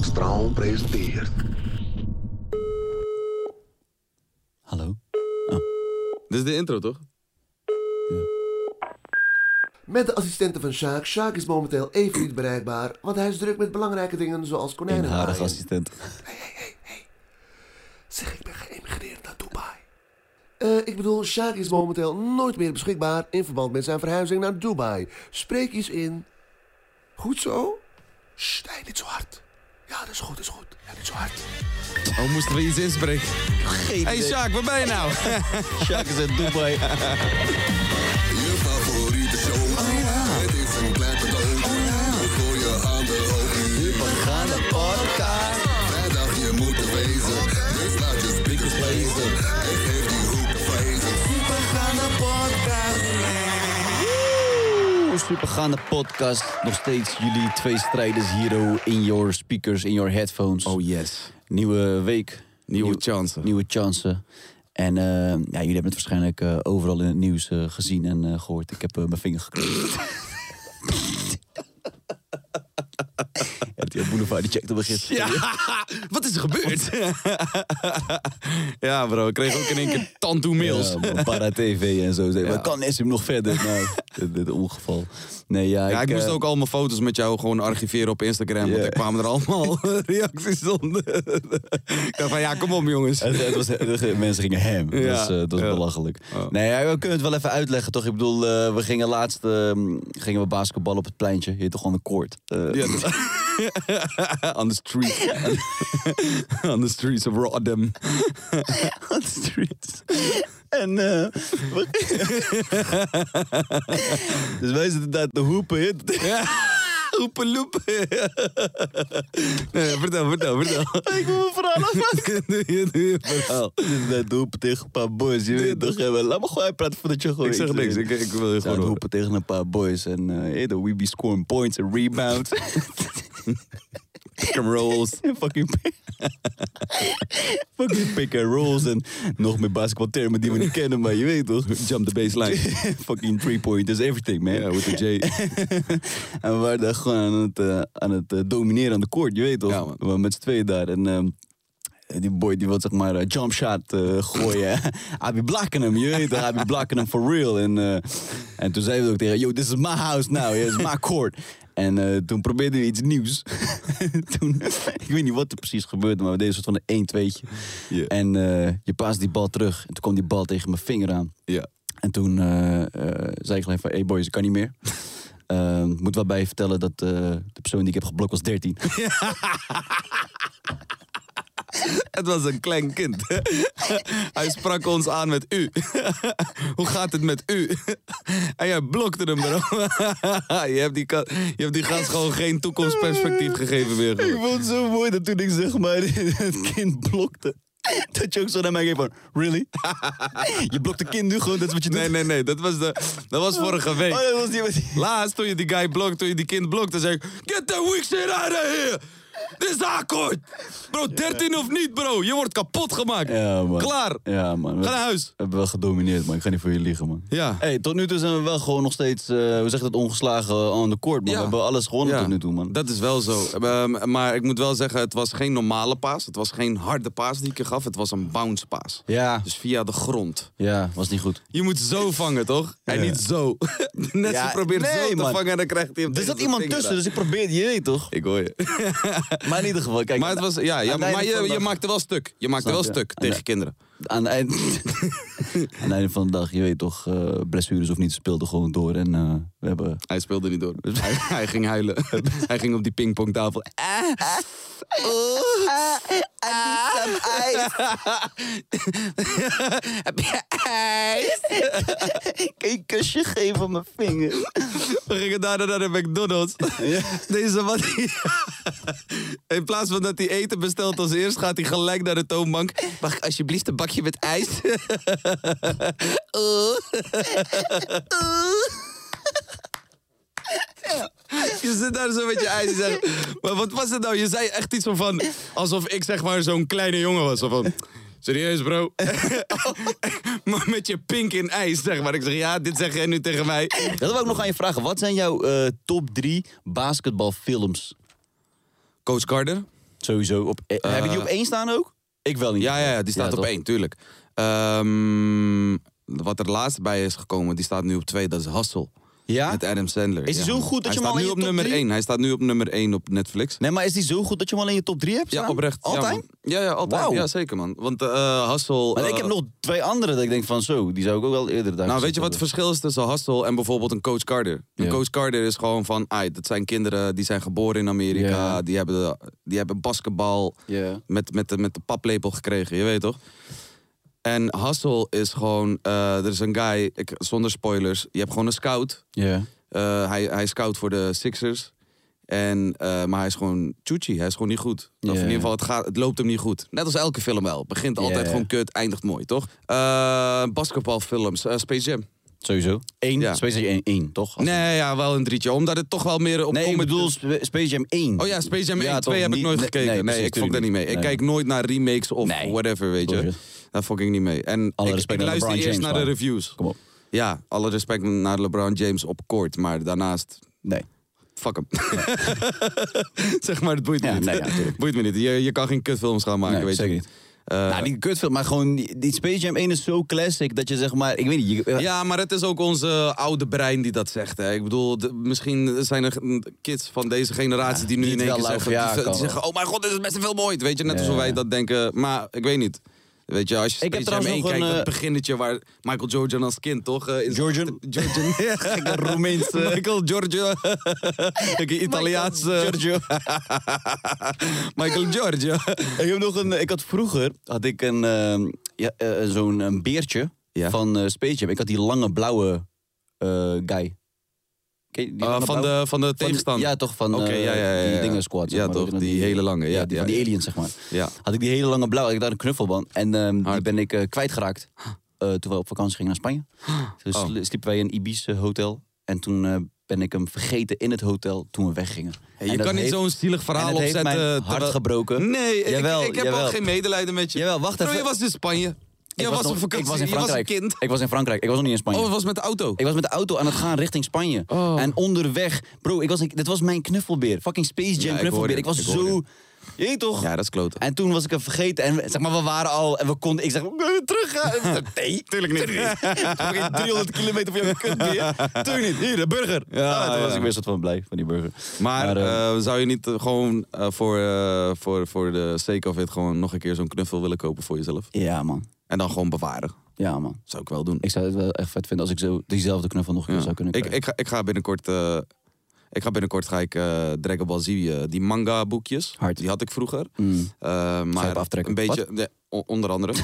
Straal presenteert. Hallo? Dit is de intro, toch? Met de assistenten van Sjaak. Sjaak is momenteel even niet bereikbaar, want hij is druk met belangrijke dingen zoals konijnen Eenharig aaien. assistent. Zeg, ik ben geëmigreerd naar Dubai. Eh, ik bedoel, Sjaak is momenteel nooit meer beschikbaar in verband met zijn verhuizing naar Dubai. Spreek iets in. Goed zo? Sst, nee, niet zo hard. Ja, dat is goed, dat is goed. Ja, niet zo hard. Oh, moesten we iets inspreken? Geen Hey Sjaak, waar ben je nou? Sjaak is uit Dubai. Je favoriete show. Oh, Het is een klein cadeau. Voor je aan de hoogte. We gaan Oh, de podcast. Vrijdag je moet er wezen. Dus laat je speakers blazen. En geef die hoek een vrezen. Oeh, Supergaande podcast. Nog steeds jullie twee strijders hero in your speakers, in your headphones. Oh yes. Nieuwe week. Nieuwe Nieuw- chances. Nieuwe chansen. En eh, ja, jullie hebben het waarschijnlijk eh, overal in het nieuws eh, gezien en eh, gehoord. Ik heb eh, mijn vinger geknipt. RTL Boulevard, die checkte begin. Ja, wat is er gebeurd? ja bro, ik kreeg ook in één keer tantoe mails. Ja, eh, para TV en zo. Maar kan Nessim nog verder? Nou, dit, dit ongeval. Nee, ja, Ja, ik moest eh, ook al mijn foto's met jou gewoon archiveren op Instagram. Ja. Want er kwamen er allemaal reacties onder. ik dacht van, ja, kom op jongens. Het, het was, de mensen gingen hem. Dat Ja, was, eh, dat was ja. belachelijk. Oh. Nee, ja, we kunnen het wel even uitleggen, toch? Ik bedoel, eh, we gingen laatst eh, gingen we basketbal op het pleintje. Je hebt toch gewoon een koord. Eh, Ja, dat- On the street. On the streets of Rotterdam. on the streets. En eh, we- dus wij zitten daar te hoepen. hit. Hoepeloepen. nee, vertel, vertel, vertel. Ik wil mijn verhaal afmaken. doe je, doe je verhaal. We zitten daar te hoepen tegen een paar boys. Je weet toch, eh, laat me gewoon uitpraten voordat je gewoon... Ik zeg iets niks, weet. ik, ik Ze wil je aan gewoon het hoepen. hoepen tegen een paar boys. En eh hey, de Weeby scoren points en rebounds. Pick and rolls. En fucking, pick- fucking pick and rolls. En nog meer basketbaltermen die we niet kennen, maar je weet toch? Jump the baseline. fucking three pointers, everything man. Ja, with the J. En we waren daar gewoon aan het, eh, aan het eh, domineren aan de court, je weet toch? Ja, we man. waren met z'n tweeën daar. En ehm, die boy die wil zeg maar eh, jump shot eh, gooien. Abi blakken hem, je weet toch? Abi blakken hem for real. En, eh, en toen zeiden we ook tegen hem, yo, this is my house now, yeah, this is my court. En eh, toen probeerden we iets nieuws. toen, ik weet niet wat er precies gebeurde, maar we deden een soort van een 1-2'tje. Ja. En eh, je paast die bal terug. En toen kwam die bal tegen mijn vinger aan. Ja. En toen eh, eh, zei ik alleen van, hey boys, ik kan niet meer. Ehm, Ik moet wel bij je vertellen dat eh, de persoon die ik heb geblokt was 13. Het was een klein kind. Hij sprak ons aan met u. Hoe gaat het met u? En jij blokte hem, bro. Je hebt die, ka- je hebt die gast gewoon geen toekomstperspectief gegeven ik meer. gewoon. vond het zo mooi dat toen ik zeg maar het kind blokte. Dat je ook zo naar mij keek van, really? je blokt een kind nu gewoon, dat is wat je Nee, doet? nee, nee. Dat was, de, dat was vorige week. Oh, dat was niet wat... Laatst, toen je die guy blokt, toen je die kind blokt, dan zei ik... Get the weak shit out of here! Dit is akkoord! Bro, 13 of niet, bro. Je wordt kapot gemaakt. Ja, man. Klaar. Ja, man. Ga naar huis. We hebben wel gedomineerd, man. Ik ga niet voor je liegen, man. Ja. Hey, tot nu toe zijn we wel gewoon nog steeds, eh hoe zeg je dat, ongeslagen aan de koord, man. Ja. We hebben alles gewonnen tot nu toe, man. Dat is wel zo. Ehm, maar ik moet wel zeggen, het was geen normale paas. Het was geen harde paas die ik je gaf. Het was een bounce paas. Ja. Dus via de grond. Ja, was niet goed. Je moet zo vangen, toch? En niet zo. Net Ja, ze probeert nee, zo man. te vangen en dan krijgt hij hem Er tegen zat zijn iemand vinger tussen, aan. dus ik probeerde je weet toch? Ik hoor je. Maar in ieder geval, kijk. Maar, het was, ja, ja, aan het maar einde van je, de je dag- maakte wel stuk. Je maakte Snap wel je? stuk Ja. tegen kinderen. Aan het, eind, aan het einde van de dag, je weet toch, eh, blessures of niet, speelde gewoon door. En eh, we hebben... Hij speelde niet door. Hij, hij ging huilen. hij ging op die pingpongtafel. Heb je ijs? Een kusje geven op mijn vinger. We gingen daarna naar de McDonald's. Deze man. die- In plaats van dat hij eten bestelt als eerst, gaat hij gelijk naar de toonbank. Mag ik alsjeblieft een bakje met ijs? Oeh. Oeh. Je zit daar zo met je ijs en zegt... Maar wat was het nou? Je zei echt iets van... van alsof ik zeg maar zo'n kleine jongen was. Zo van... Serieus, bro? Oh, maar met je pink in ijs, zeg maar. Ik zeg, ja, dit zeg jij nu tegen mij. Dat wil ik nog aan je vragen. Wat zijn jouw eh, top drie basketbalfilms? Coach Carter. Sowieso. Op, eh, heb ik die op één staan ook? Ik wel niet. Ja, ja, ja die staat op toch? één, tuurlijk. Ehm, wat er laatst bij is gekomen, die staat nu op twee, dat is Hustle. Ja? Met Adam Sandler. Is die zo goed dat hij je hem staat al in nu je op top nummer drie- 1. Hij staat nu op nummer 1 op Netflix. Nee, maar is die zo goed dat je hem al in je top 3 hebt Ja, staan? oprecht. Ja, Altijd? man. Ja, ja, altijd. Wauw. Ja, zeker, man. Want eh Hustle... maar ik eh, heb nog twee andere dat ik denk van zo, die zou ik ook wel eerder daar Nou, gezet weet je wat het hebben. verschil is tussen Hustle en bijvoorbeeld een Coach Carter? Een Ja. Coach Carter is gewoon van, ai, dat zijn kinderen die zijn geboren in Amerika, Ja. die, hebben, de- die hebben basketbal Ja. met, met, de, met de paplepel gekregen, je weet toch? En Hustle is gewoon, eh, er is een guy, ik, zonder spoilers, je hebt gewoon een scout. Ja. Eh, hij, hij scout voor de Sixers. En, eh, maar hij is gewoon chuchi, hij is gewoon niet goed. Of Ja. in ieder geval, het, gaat, het loopt hem niet goed. Net als elke film wel. Begint altijd Ja. gewoon kut, eindigt mooi, toch? Eh, basketbalfilms, eh, Space Jam. Sowieso. Eén. Ja. Space Jam 1, één, toch? Als- Nee, ja, wel een drietje. Omdat het toch wel meer op Nee, ik comedy- bedoel Sp- Space Jam 1. Oh ja, Space Jam 1, Ja, 2 toch, heb ik niet- nooit nee, gekeken. Nee, nee, precies, ik fok daar tuurlijk niet mee. Ik niet. kijk nooit naar remakes of Nee. whatever, weet je. Sorry. Daar fok ik niet mee. En Alle ik, respect ik naar luister LeBron eerst James, naar de maar. reviews. Kom op. Ja, alle respect naar LeBron James op court. Maar daarnaast, Nee. fuck hem. zeg maar, het boeit me Ja, niet. nee, ja, natuurlijk. boeit me niet. Je, je kan geen kutfilms gaan maken, Nee, weet Eh. zeker je. niet. nou, die kutfilm, maar gewoon die, die Space Jam 1 is zo classic dat je zeg maar, ik weet niet. je- Ja, maar het is ook onze oude brein die dat zegt. Hè. Ik bedoel, de- misschien zijn er mm, kids van deze generatie die nu die in het één wel keer lauw zeggen, voor jaar die, die kan zeggen... Oh mijn god, dit is best een veel mooi. Weet je, net Ja, alsof wij ja. dat denken. Maar ik weet niet. Weet je, als je Ik heb Space Jam trouwens 1 nog kijkt, een, dat eh, beginnetje waar Michael Jordan als kind toch... eh, is- Georgian. Georgian. Gekke Roemeense. Michael Giorgio. Gekke Italiaans. eh, Giorgio. Michael Giorgio. Ik heb nog een. Ik had vroeger had ik een ehm, ja, eh, zo'n een beertje Ja. van eh Space Jam. Ik had die lange blauwe eh, guy. Ken je die Eh, lange van, blauwe? de, van de Van die- tegenstander. ja, toch van Oké, eh, ja, ja, ja, ja. die dingen squad. zeg Ja, maar. toch, Weet je nog, die hele lange, ja, die, ja, van die ja. aliens, zeg maar. Ja. Had ik die hele lange blauwe, had ik daar een knuffel van. En ehm, die Hard. ben ik eh, kwijtgeraakt eh, toen we op vakantie gingen naar Spanje. Dus Oh. sli- sliepen wij in Ibis eh, hotel. En toen eh, ben ik hem vergeten in het hotel toen we weggingen. Hey, En je dat kan niet heeft- zo'n zielig verhaal en het heeft opzetten. mijn terwijl- hart gebroken. Nee, ik- Jawel, ik, ik heb jawel. ook geen medelijden met je. Jawel, wacht Bro, even. je was in Spanje. Je was, nog- op vakantie. Ik was in je was een Frankrijk. kind. Ik was in Frankrijk. Ik was nog niet in Spanje. Oh, het was met de auto. Ik was met de auto aan het gaan richting Spanje. Oh. En onderweg, bro, ik was, ik, dit was mijn knuffelbeer. Fucking Space Jam Ja, ik hoor je. knuffelbeer. Ik was Ik hoor zo. Je weet toch? Ja, dat is kloten. En toen was ik hem vergeten. En we- zeg maar, we waren al. En we konden. Ik zeg, "We kunnen terug gaan. Nee, tuurlijk niet. Ik heb geen 300 kilometer voor jouw kutbeer. Tuurlijk niet. Hier, de burger. Ja, Ja, toen ja. was ik weer soort van blij van die burger. Maar, eh, eh, zou je niet eh, gewoon eh, voor, eh, voor, voor de sake of it gewoon nog een keer zo'n knuffel willen kopen voor jezelf? ja, man. En dan gewoon bewaren. Ja, man. Zou ik wel doen. Ik zou het wel echt vet vinden als ik zo diezelfde knuffel nog een keer Ja. zou kunnen ik, krijgen. ik, ga, ik ga binnenkort... eh, ik ga binnenkort ga ik eh, Dragon Ball Z, eh, die manga boekjes, Hard. die had ik vroeger. Mm. Eh, je maar op aftrekken? een beetje, nee, o- onder andere.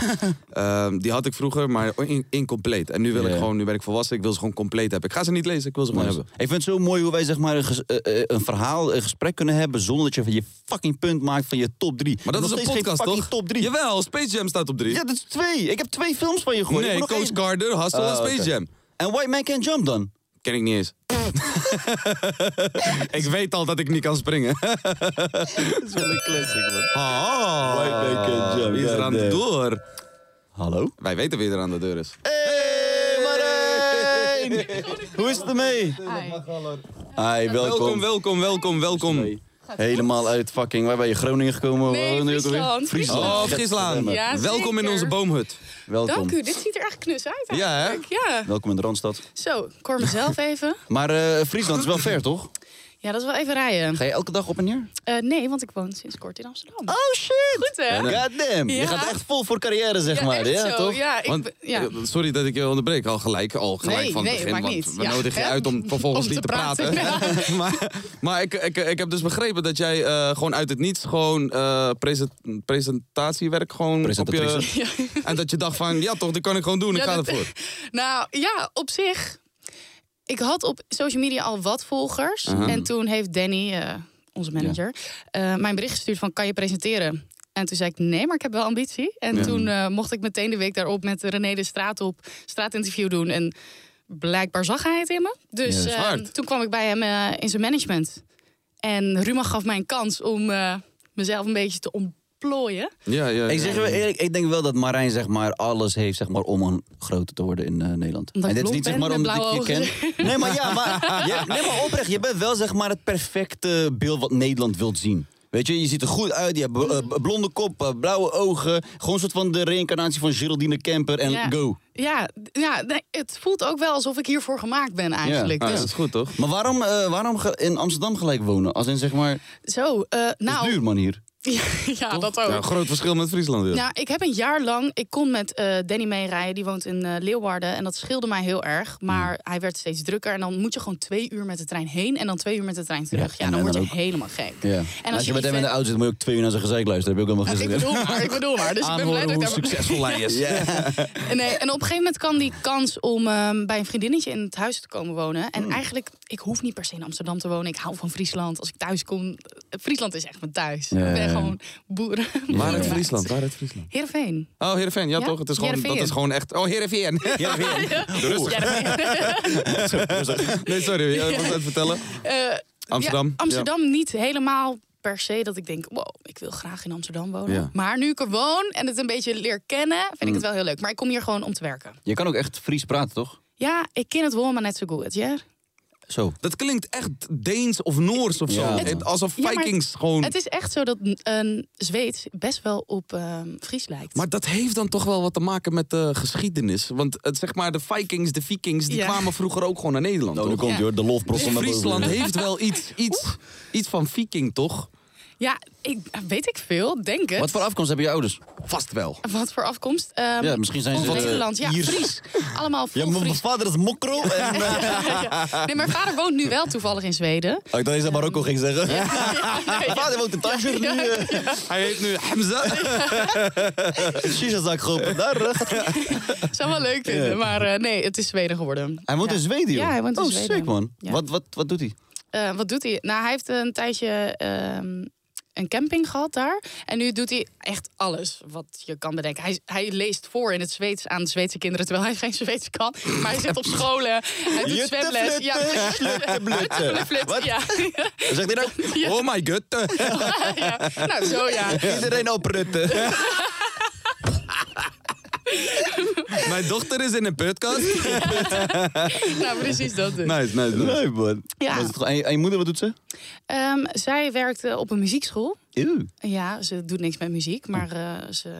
Ehm, die had ik vroeger, maar in- incomplete. En nu wil Ja, ik ja. gewoon, nu ben ik volwassen, ik wil ze gewoon compleet hebben. Ik ga ze niet lezen, ik wil ze gewoon Nice. hebben. Ik vind het zo mooi hoe wij zeg maar, een, ges- eh, eh, een verhaal, een gesprek kunnen hebben... zonder dat je van je fucking punt maakt van je top drie. Maar dat Nog is een steeds geen podcast, fucking toch? top drie. Jawel, Space Jam staat op drie. Ja, dat is twee. Ik heb twee films van je gegooid. Ik nee, moet nog Coach één- Carter, Hustle Oh, en Space oké. Jam. En White Man Can Jump dan? Ken ik niet eens. ik weet al dat ik niet kan springen. Dat is wel een classic, man. Oh, White man can jump, Wie is er aan de Ah. goddamn. deur? Hallo? Wij weten wie er aan de deur is. Hey, Marijn! Hoe is het ermee? Hi, Welkom, welkom. welkom, welkom, welkom. Helemaal uit fucking... Waar ben je? Groningen gekomen? Nee, Waar woon je ook alweer? Friesland. Friesland. Oh, Gislaan. Ja, welkom in zeker. onze boomhut. Welkom. Dank u, dit ziet er echt knus uit Ja, hè? eigenlijk. Ja, Welkom in de Randstad. Zo, ik hoor mezelf even. Maar eh, Friesland is wel ver, toch? Ja, dat is wel even rijden. Ga je elke dag op en neer? Eh, nee, want ik woon sinds kort in Amsterdam. Oh shit! Goed, hè? Goddamn, je Ja. gaat echt vol voor carrière, zeg maar. echt ja, zo. toch? Ja, ik, Want, ben- ja. eh, Sorry dat ik je onderbreek, al gelijk, al gelijk Nee, van het nee, begin. maakt want niet. we Ja, nodigen je hè? uit om vervolgens Om niet te te praten. praten, maar maar ik, ik, ik heb dus begrepen dat jij eh, gewoon uit het niets gewoon eh, present- presentatiewerk gewoon op je... Presentatrice. En dat je dacht van, ja toch, dat kan ik gewoon doen, ik Ja, ga dat- ervoor. Nou ja, op zich. Ik had op social media al wat volgers. En toen heeft Danny, eh, onze manager, eh, mij een bericht gestuurd van kan je presenteren? En toen zei ik nee, maar ik heb wel ambitie. En toen eh, mocht ik meteen de week daarop met René de straat op straatinterview doen. En blijkbaar zag hij het in me. Dus Yes. eh, Hard. toen kwam ik bij hem eh, in zijn management. En Ruma gaf mij een kans om eh, mezelf een beetje te ontplooien. Ja, ja, Ik zeg je wel eerlijk, ik denk wel dat Marijn zeg maar, alles heeft zeg maar, om een groter te worden in eh, Nederland. Omdat ik dit is niet zeg blond maar ben omdat met ik je ken. blauwe Nee, maar ja, maar, je- nee, maar oprecht, je bent wel zeg maar, het perfecte beeld wat Nederland wilt zien. Weet je, je ziet er goed uit. Je hebt bl- eh, blonde kop, eh, blauwe ogen. Gewoon een soort van de reïncarnatie van Geraldine Kemper en ja. go. Ja, d- ja nee, het voelt ook wel alsof ik hiervoor gemaakt ben eigenlijk. Ah, dus, dat is goed, toch? Maar waarom, eh, waarom ge- in Amsterdam gelijk wonen? Als in zeg maar, het Zo, eh, is Nou, nou... duur man hier. Ja, ja, dat ook. Ja, groot verschil met Friesland weer. Nou, ik heb een jaar lang. Ik kon met eh, Danny meerijden. Die woont in eh, Leeuwarden. En dat scheelde mij heel erg. Maar Hmm. hij werd steeds drukker. En dan moet je gewoon twee uur met de trein heen. En dan twee uur met de trein terug. Ja, en- dan en word je dan ook- helemaal gek. Ja. En als je met hem in de auto zit, moet je ook twee uur naar zijn gezeik luisteren. Heb je ook helemaal eh, Nou, Ik gezien. bedoel maar, ik bedoel maar. Dus ik ben blij Aanhoren dat ik hoe daar- succesvol hij is. Nee, en op een gegeven moment kan die kans om ehm, bij een vriendinnetje in het huis te komen wonen. Hmm. En eigenlijk, ik hoef niet per se in Amsterdam te wonen. Ik hou van Friesland. Als ik thuis kom, eh, Friesland is echt mijn thuis. Ja, ik ja, ben ja. gewoon boeren. Waar uit boerenmeid. Friesland? Waar uit Friesland? Heerenveen. Oh, Heerenveen. Ja, Ja, toch? Het is gewoon, dat Heerenveen. is gewoon echt... Oh, Heerenveen. Rustig. Nee, sorry. Jij was aan het vertellen. Eh, Amsterdam, ja, Amsterdam niet helemaal per se dat ik denk, wow, ik wil graag in Amsterdam wonen. Ja. Maar nu ik er woon en het een beetje leer kennen, vind ik het wel heel leuk. Maar ik kom hier gewoon om te werken. Je kan ook echt Fries praten, toch? Oh, Ja, ik ken het wel, maar net zo goed. Ja? Zo. Dat klinkt echt Deens of Noors of zo. Ja. Het- Alsof Ja, maar Vikings gewoon... Het is echt zo dat een Zweeds best wel op ehm, Fries lijkt. Maar dat heeft dan toch wel wat te maken met de geschiedenis. Want het, zeg maar, de Vikings, de Vikings, die Ja. kwamen vroeger ook gewoon naar Nederland. Nou, toch? nu komt hij hoor. De lofbrot Dus van naar boven. Friesland heeft wel iets, iets, iets van Viking, toch? Ja, ik, weet ik veel, denk het. Wat voor afkomst hebben je ouders? Vast wel. Wat voor afkomst? Ehm, Ja, misschien zijn vol ze, eh, Nederlands. Ja, Iers. Fries. Allemaal vol Fries. vader is mokro. En, Nee, mijn vader woont nu wel toevallig in Zweden. Oh, ik dacht dat Marokko ging zeggen. Nee, ja. Vader woont in Tanger nu. eh. Hij heet nu Hamza. Shisha-zak geopend. Daar, eh, gaat- zou wel leuk vinden, maar eh, nee, het is Zweden geworden. Hij woont Ja. in Zweden, joh. Ja, hij woont in oh, Zweden. sick, man. Ja. Wat, wat, wat doet hij? Eh, wat doet hij? Nou, hij heeft een tijdje ehm, een camping gehad daar. En nu doet hij echt alles wat je kan bedenken. Hij, hij leest voor in het Zweeds aan Zweedse kinderen, terwijl hij geen Zweeds kan. Maar hij zit op scholen, hij doet zwemles. Ja, flutte, flutten, Wat? ja. Zegt hij nou? Oh my god. ja. Nou, zo ja. Iedereen oprutten. Mijn dochter is in een podcast. Nice, Nou, precies dat dus. nice. nice. Leuk, man. Ja. Was het gewoon- En je, en je moeder, wat doet ze? Ehm, zij werkte op een muziekschool. Ew. Ja, ze doet niks met muziek, maar eh, ze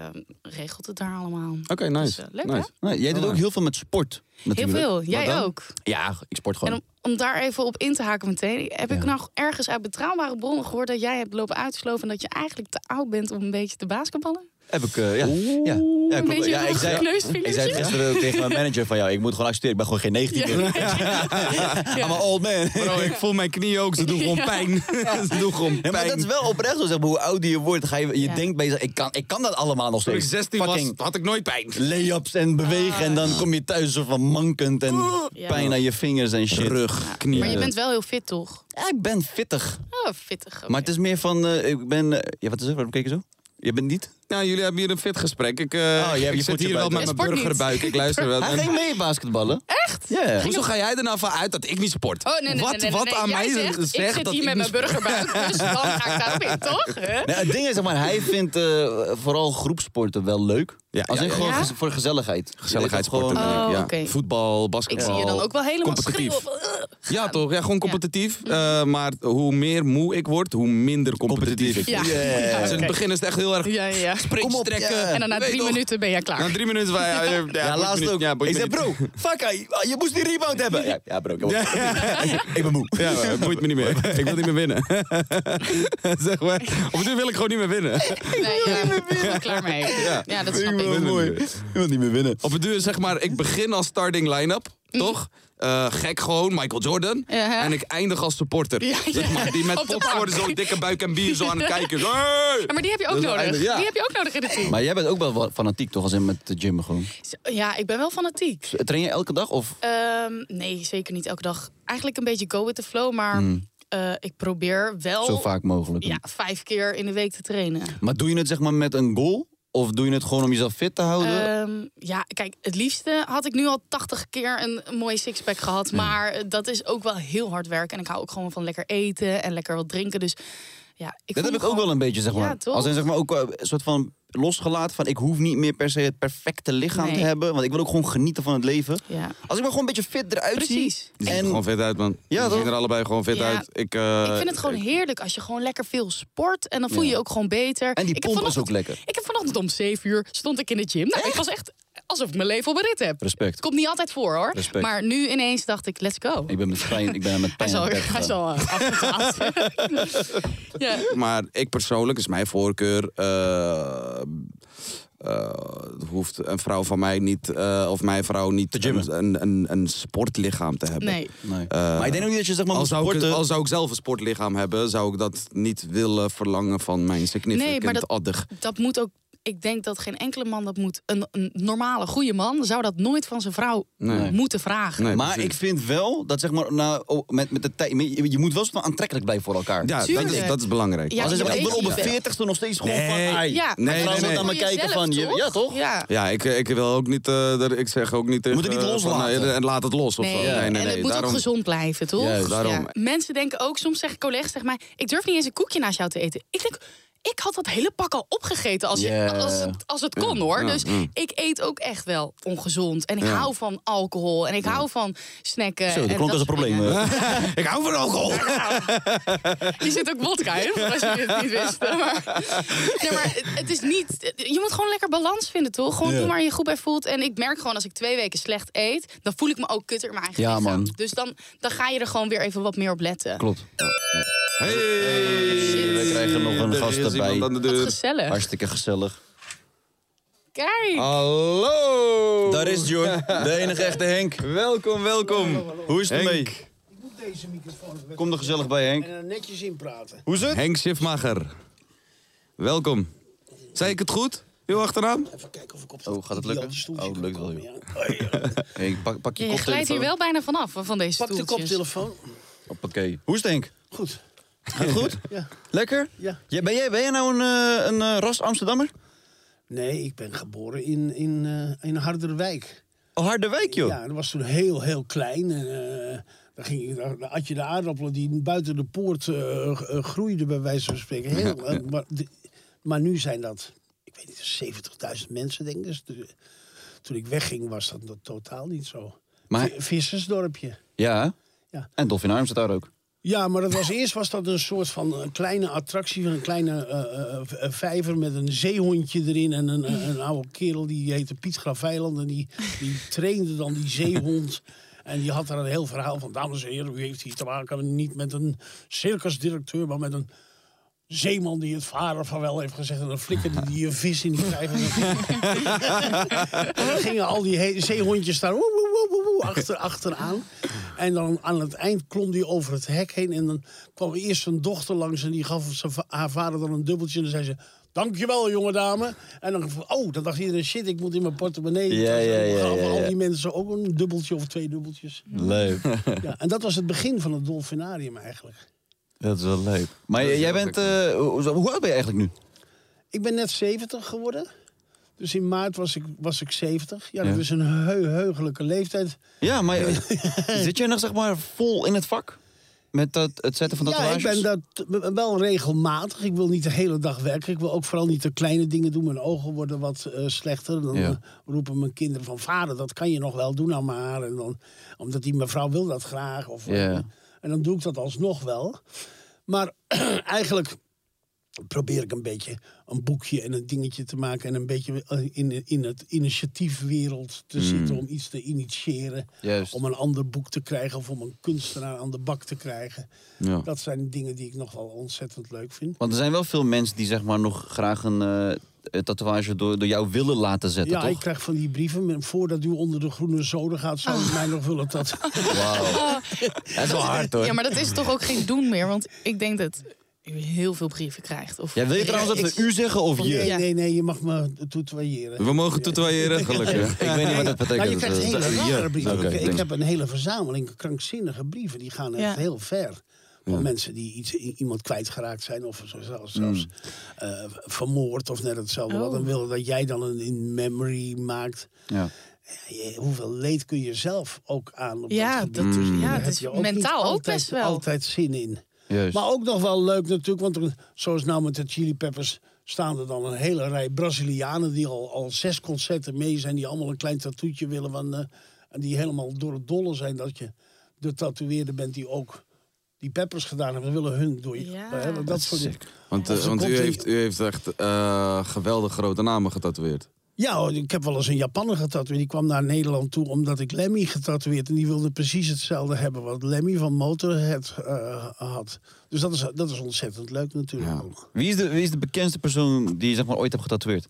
regelt het daar allemaal. Oké, Dus, nice. eh, leuk, hè? nice. Nou, jij doet ook heel veel met sport. Heel natuurlijk. veel. Wat Jij dan? ook. Ja, ik sport gewoon. En om, om daar even op in te haken meteen, heb ik nou ergens uit betrouwbare bronnen gehoord dat jij hebt lopen uitsloven en dat je eigenlijk te oud bent om een beetje te basketballen? Heb ik, eh, ja. ja. ja, een klopt. beetje ja, ik zei, gekneusd ik zei het gisteren ook tegen mijn manager van jou, ik moet gewoon accepteren, ik ben gewoon geen 19 meer. I'm an old man. Bro, ik voel mijn knieën ook. Ze doen gewoon pijn. Ze doen gewoon Ja, maar dat is pijn. wel oprecht zo, zeg maar, hoe ouder je wordt, ga je, je Ja. denkt bij jezelf, ik kan, ik kan dat allemaal nog Toen ik steeds. 16 was, Fucking had ik nooit pijn. lay-ups en bewegen en dan kom je thuis zo van mankend en Ah. Ja. pijn aan je vingers en shit. Rug, Maar je knieën. bent wel heel fit, toch? Ja, ik ben fittig. Oh, fittig. oké. Maar het is meer van, eh, ik ben, eh, ja wat is het, waarom kijk je zo? Je bent niet? Nou, jullie hebben hier een fit gesprek. Ik, eh, Oh, hebt je ik zit voetje hier wel buiten. met mijn Sport niet. burgerbuik. Ik luister wel. Hij ging mee basketballen. echt? Ja. Hoezo ga jij er nou van uit dat ik niet sport? Oh, nee, nee, nee, wat nee, nee, wat nee. aan Jij mij zegt, zegt Ik zit dat hier ik met mijn niet sport- burgerbuik, dus dan ga ik daarop in, toch? Hè? Nee, het ding is, zeg maar, hij vindt eh, vooral groepsporten wel leuk. Ja, Als ja, in ja, gewoon ja. gez- voor gezelligheid. Gezelligheidssporten. Gewoon, Oh, ja. oké. Voetbal, Ik basketbal. zie je dan ook wel helemaal competitief. schreeuwen. van, "Ugh." Ja, toch? Ja, gewoon competitief. Mhm. Eh, maar hoe meer moe ik word, hoe minder Oh. competitief, Competitief. Ja. ik word. Ja, Dus in het oké. begin is het echt heel erg Ja, ja, ja. prik op, strekken. ja. En dan na Nee, drie toch? minuten ben jij klaar. Na drie minuten... Ja, ja, Ja, boeit me laatst niet. ook. Ja, boeit ik me zei, niet. bro, fuck, je moest die rebound hebben. Ja, ja bro, kom op. ik ben moe. Ja, maar het boeit me niet meer. Ik wil niet meer winnen. zeg maar. Op nu wil ik gewoon niet meer winnen. Nee, ja, ik ben er klaar mee. Ja, dat snap ik. mooi. Je wilt niet meer winnen. Op het duur zeg maar, ik begin als starting line-up, toch? Eh, gek gewoon, Michael Jordan. Ja. En ik eindig als supporter. Ja, ja. Zeg maar, die met Op de popcorn, bank. zo'n dikke buik en bier zo aan het kijken. Zo, hey! Ja, Maar die heb je ook Dat is wel nodig. eigenlijk- ja. Die heb je ook nodig in het team. Maar jij bent ook wel wat fanatiek toch, als in met de gym gewoon. Ja, ik ben wel fanatiek. Train je elke dag of? Ehm, nee, zeker niet elke dag. Eigenlijk een beetje go with the flow, maar eh, ik probeer wel Hmm. Zo vaak mogelijk. Oh. Ja, vijf keer in de week te trainen. Maar doe je het zeg maar met een goal? Of doe je het gewoon om jezelf fit te houden? Ehm, ja, kijk, het liefste had ik nu al 80 keer een, een mooie sixpack gehad. Maar eh, dat is ook wel heel hard werk. En ik hou ook gewoon van lekker eten en lekker wat drinken. Dus ja, ik dat heb voel me ik ook gewoon- wel een beetje, zeg Ja, maar. toch? Als in zeg maar ook eh, een soort van losgelaten van ik hoef niet meer per se het perfecte lichaam Nee. te hebben. Want ik wil ook gewoon genieten van het leven. Ja. Als ik maar gewoon een beetje fit eruit Precies. zie. Die zien er gewoon vet uit, man. Ja, Ja, die zien toch? er allebei gewoon vet Ja. uit. Ik, eh, ik vind het gewoon heerlijk als je gewoon lekker veel sport. En dan voel je je ook gewoon beter. En die ik heb pomp is vanochtend- ook lekker. Ik heb vanochtend om 7 uur stond ik in de gym. Nou, ik was echt alsof ik mijn leven op een rit heb. Respect. Komt niet altijd voor hoor. Respect. Maar nu ineens dacht ik, let's go. Ik ben met pijn, ik ben met Hij pijn is al, aan het bed hij is gegaan. al eh, afgedwaald. ja. Maar ik persoonlijk, is mijn voorkeur. eh, eh, hoeft een vrouw van mij niet, eh, of mijn vrouw niet, gymmen. Een, een, een sportlichaam te hebben. Nee. Nee. maar ik denk ook niet dat je zeg maar Eh, Al moet zou, ik, sporten. al zou ik zelf een sportlichaam hebben, zou ik dat niet willen verlangen van mijn significant Nee, maar dat- other. Dat moet ook. Ik denk dat geen enkele man dat moet. Een, een normale, goede man zou dat nooit van zijn vrouw Nee. moeten vragen. Nee, maar precies. ik vind wel dat zeg maar nou, oh, met, met de tijd, je je moet wel soort van aantrekkelijk blijven voor elkaar. Ja, dat is, Tuurlijk. dat is belangrijk. Ja, Als je je zegt, ik weet ben op niet. mijn veertigste nog steeds gewoon Nee. van... ai. Ja, Nee, maar nee, dat is nee. voor Aan me kijken jezelf, van, je- ja, toch? Ja. Ja, ik, ik wil ook niet. eh, dat- ik zeg ook niet. Tegen, moet het niet eh, van, loslaten. nee, en laat het los. Of Nee. zo. nee, nee, nee. en het moet daarom, ook gezond blijven, toch? Juist, daarom. Mensen denken ook, soms zeggen collega's tegen mij... ik durf niet eens een koekje naast jou te eten. Ik denk, ik had dat hele pak al opgegeten als, je, Ja. als, het, als het kon, hoor. dus ik eet ook echt wel ongezond. En ik hou van alcohol en ik hou van snacken. Zo, dat en klonk als een soort probleem. dingen. eh. Ik hou van alcohol. Je zit ook vodka in, voor als je het niet wist. Maar, nee, maar het- het is niet... Je moet gewoon lekker balans vinden, toch? Gewoon Ja. doe waar je je goed bij voelt. En ik merk gewoon, als ik twee weken slecht eet... dan voel ik me ook kutter in mijn eigen Ja, lichaam. man. Dus dan, dan ga je er gewoon weer even wat meer op letten. Klopt. Hey. We krijgen nog een Er gast is erbij. iemand aan de Wat deur. gezellig. Hartstikke gezellig. Ah, Kijk. Hallo. Daar is John, de enige echte Henk. Welkom, welkom. Hoe is het Henk. ermee? Moet deze microfoon weg. Kom er gezellig bij, Henk. En er netjes in praten. Hoe is het? Henk Schiffmacher. Welkom. Zei ik het goed? Uw achternaam? Even kijken of ik op Oh, gaat het idiote lukken? stoeltje Oh, kan lukt wel, komen, ja. Henk, pak, pak je je koptelefoon. glijdt hier wel bijna vanaf van deze Pak de stoeltjes. koptelefoon. Hoppakee. Hoe is het, Henk? Goed. Gaat het goed? Ja. Lekker? Ja. Jij- ben, jij, ben jij nou een, eh, een eh, ras Amsterdammer? Nee, ik ben geboren in, in, eh, in Harderwijk. Oh, Harderwijk, joh. Ja, dat was toen heel, heel klein. En, eh, dan, ging ik, dan had je de aardappelen die buiten de poort eh, eh, groeiden, bij wijze van spreken. Heel, eh, maar, de- maar nu zijn dat, ik weet niet, 70.000 mensen, denk ik. Dus de- toen ik wegging, was dat nog totaal niet zo. Maar- Vi- Vissersdorpje. Ja. Ja. En Dolfinarm zit daar ook. Ja, maar dat was, eerst was dat een soort van een kleine attractie van een kleine eh, eh, v- eh, vijver met een zeehondje erin en een, eh, een oude kerel die heette Piet Graveiland en die, die trainde dan die zeehond. En die had daar een heel verhaal van, dames en heren, u heeft hier te maken niet met een circusdirecteur, maar met een zeeman die het varen van wel heeft gezegd. En dan flikkerde die een vis in die vijver. en dan gingen al die he- zeehondjes daar woe, woe, woe, woe, woe, achter, achteraan. En dan aan het eind klom die over het hek heen. En dan kwam eerst een dochter langs en die gaf zijn va- haar vader dan een dubbeltje. En dan zei ze... Dankjewel, jonge dame. En dan, oh, dan dacht iedereen, shit, ik moet in mijn portemonnee. Dus Ja, ja, ja, Dan gaven ja, ja. al die mensen ook een dubbeltje of twee dubbeltjes. Leuk. Ja, en dat was het begin van het dolfinarium eigenlijk. Dat is wel leuk. Maar j- jij bent... eh, hoe hoe oud ben je eigenlijk nu? Ik ben net 70 geworden. Dus in maart was ik, was ik 70. Ja, dat is een heu heugelijke leeftijd. Ja, maar eh, zit jij nog zeg maar vol in het vak? Met dat, het zetten van Ja, tatoeages? ik ben dat eh, wel regelmatig. Ik wil niet de hele dag werken. Ik wil ook vooral niet de kleine dingen doen. Mijn ogen worden wat eh, slechter. Dan Ja. eh, roepen mijn kinderen van... vader, dat kan je nog wel doen aan maar. En dan, omdat die mevrouw wil dat graag. Of, eh, Ja. en dan doe ik dat alsnog wel. Maar eigenlijk probeer ik een beetje een boekje en een dingetje te maken. En een beetje eh, in, in het initiatiefwereld te Hmm. zitten om iets te initiëren. Juist. Om een ander boek te krijgen of om een kunstenaar aan de bak te krijgen. Ja. Dat zijn dingen die ik nog wel ontzettend leuk vind. Want er zijn wel veel mensen die zeg maar nog graag een eh, tatoeage door, door jou willen laten zetten, Ja, toch? ik krijg van die brieven. maar Voordat u onder de groene zoden gaat, zou Ah. u mij nog willen dat. Dat is wel hard, hoor. Ja, maar dat is toch ook geen doen meer, want ik denk dat je heel veel brieven krijgt. Of Ja, wil je trouwens dat we u zeggen of je? Nee, Ja. nee, nee, je mag me toetwaaieren. We mogen toetwaaieren, gelukkig. Ik weet niet wat dat betekent. Nou, je krijgt Dat- hele dat- rare je. brieven. Oké, ik, ik thanks. heb een hele verzameling krankzinnige brieven. Die gaan echt Ja. heel ver. Van mensen die iets, i- iemand kwijtgeraakt zijn of zo- zelfs, Hmm. zelfs eh, vermoord of net hetzelfde. Wat Oh. dan willen dat jij dan een in memory maakt. Ja. Ja, je- eh, hoeveel leed kun je zelf ook aan? Op Ja, dat, gebied? dat- ja, daar dat heb is je ook niet mentaal ook altijd- best wel. altijd zin in. Juist. Maar ook nog wel leuk natuurlijk, want er- zoals nou met de Chili Peppers staan er dan een hele rij Brazilianen die al, al zes concerten mee zijn, die allemaal een klein tattoetje willen van, eh, en die helemaal door het dolle zijn dat je de tatoeëerder bent die ook die Peppers gedaan hebben. We willen hun door je. Ja. hè, want dat soort dingen. Want, eh, Of er want komt u, een- heeft, u heeft echt eh, geweldig grote namen getatoeëerd. Ja, hoor, ik heb wel eens een Japanner getatoeëerd. Die kwam naar Nederland toe omdat ik Lemmy getatoeëerd. En die wilde precies hetzelfde hebben wat Lemmy van Motorhead eh, had. Dus dat is, dat is ontzettend leuk natuurlijk. Ja. ook. Wie is, de, wie is de bekendste persoon die je zeg maar, ooit hebt getatoeëerd?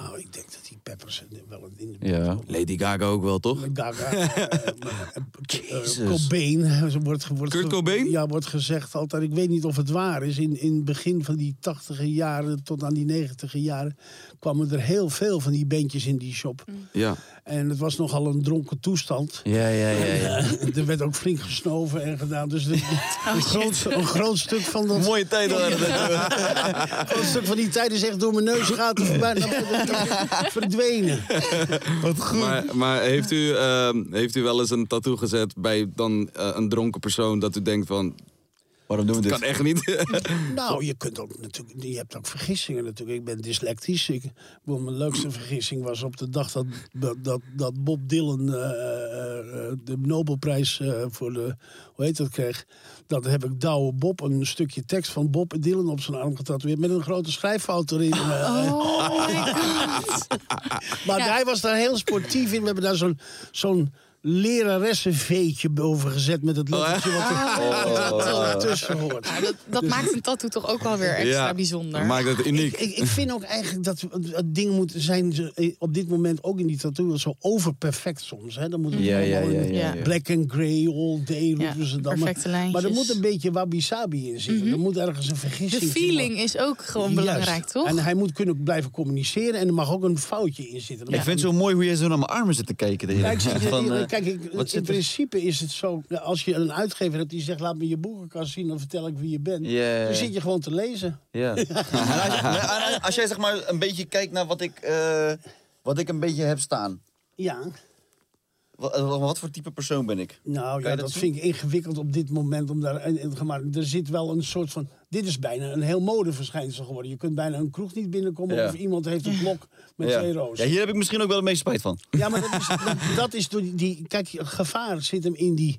Nou, ik denk dat die Peppers wel een- in de Ja. Lady Gaga ook wel, toch? Gaga, eh, maar, eh, eh, Jezus. Cobain. eh, zo Wordt, ge- wordt Kurt ge- Cobain? Ja, wordt gezegd altijd. Ik weet niet of het waar is. In, in het begin van die tachtiger jaren tot aan die negentiger jaren... kwamen er heel veel van die bandjes in die shop. Mm. Ja. En het was nogal een dronken toestand. Ja, ja, ja. Eh, er werd ook flink gesnoven en gedaan. Dus de- een, groot, een groot stuk van dat... Mooie tijd hoor. Een groot stuk van die tijd is echt door mijn neus gaat voorbij. Dan verdwenen. Maar, maar heeft, u, ehm, heeft u wel eens een tattoo gezet bij dan eh, een dronken persoon dat u denkt van, Waarom doen we kan dit? echt niet? Nou, je kunt ook natuurlijk, je hebt ook vergissingen natuurlijk. Ik ben dyslectisch. Ik, ik bedoel, mijn leukste vergissing was op de dag dat, dat, dat, dat Bob Dylan eh, eh, de Nobelprijs eh, voor de, hoe heet dat, kreeg. Dat heb ik Douwe Bob, een stukje tekst van Bob Dylan op zijn arm getatoeëerd. Met een grote schrijffout erin. eh. Oh my god. Maar Ja. hij was daar heel sportief in. We hebben daar zo'n zo'n leraressenveetje over gezet met het Oh, lettertje wat er wat er tussen hoort. Dat, dat Dus- maakt een tattoo toch ook wel weer extra bijzonder. Maakt het uniek. Ik, ik vind ook eigenlijk dat we- dat dingen moeten zijn ze, eh, op dit moment ook in die tattoo zo overperfect soms. Hè? Dan moet het Ja, ja, allemaal in ja, ja, ja. black and grey all day roepen ze dan. perfecte Maar, maar er lijntjes. Mhm. moet een beetje wabi-sabi in zitten. Er moet ergens een vergissing de feeling is ook gewoon belangrijk, toch? En hij moet kunnen blijven communiceren en er mag ook een foutje in zitten. Er Ik mag vind het zo mooi hoe jij zo naar mijn armen zit te kijken. de hele Kijk, tijd. zie je, Van, eh, kijk ik, wat in zit er- principe is het zo, nou, als je een uitgever hebt die zegt laat me je boekenkast zien, dan vertel ik wie je bent. Ja. Dan zit je gewoon te lezen. Ja. als, jij zeg maar een beetje kijkt naar wat ik, eh, wat ik een beetje heb staan. Ja, Wat, eh, wat voor type persoon ben ik? nou ja, je dat dat, zien? vind ik ingewikkeld op dit moment. Om daar, en, en- maar er zit wel een soort van, dit is bijna een heel modeverschijnsel geworden. Je kunt bijna een kroeg niet binnenkomen Ja. of iemand heeft een blok met ja. twee rozen. Ja, hier heb ik misschien ook wel de meeste spijt van. Ja, maar dat is, dat, dat is door die- die. Kijk, het gevaar zit hem in die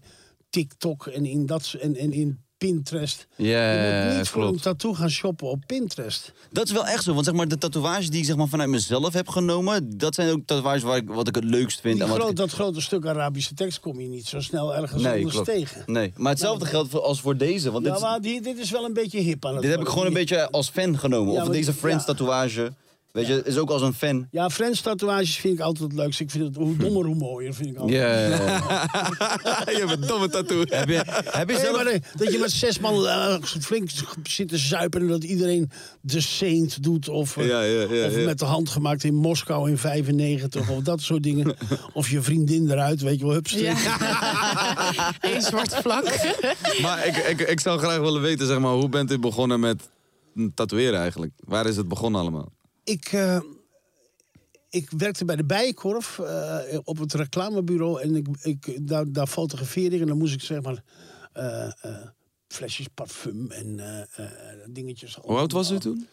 TikTok en in, dat, s- en, en in Pinterest. Ja, je moet klopt. niet voor een tattoo gaan shoppen op Pinterest. Dat is wel echt zo, want zeg maar, de tatoeages die ik zeg maar, vanuit mezelf heb genomen, dat zijn ook tatoeages waar ik, wat ik het leukst vind. Die en wat groot, ik- dat grote stuk Arabische tekst kom je niet zo snel ergens nee, anders klopt. tegen. nee, maar hetzelfde geldt voor, als voor deze. Want Ja, dit, maar die- dit is wel een beetje hip aan het dit heb ik worden. gewoon een beetje als fan genomen. Ja, of want- deze Friends ja. tatoeage, weet je, is ook als een fan. Ja, French tatoeages vind ik altijd het leukste. Ik vind het Hm. hoe dommer, hoe mooier. Vind ik altijd. je hebt een domme tattoo. heb, je, heb je Nee, zelf... maar nee, dat je met zes man eh, flink zit te zuipen en dat iedereen de Saint doet. Of, eh, Ja, ja, ja, of ja. met de hand gemaakt in Moskou in 95 of dat soort dingen. Of je vriendin eruit, weet je wel, hupstrik. Ja. Eén zwart vlak. Maar ik, ik, ik zou graag willen weten, zeg maar, hoe bent u begonnen met tatoeëren eigenlijk? Waar is het begonnen allemaal? Ik, eh, ik werkte bij de Bijenkorf eh, op het reclamebureau. En ik, ik, daar, daar fotografeerde ik. En dan moest ik zeg maar eh, eh, flesjes parfum en eh, eh, dingetjes. Hoe oud was u toen?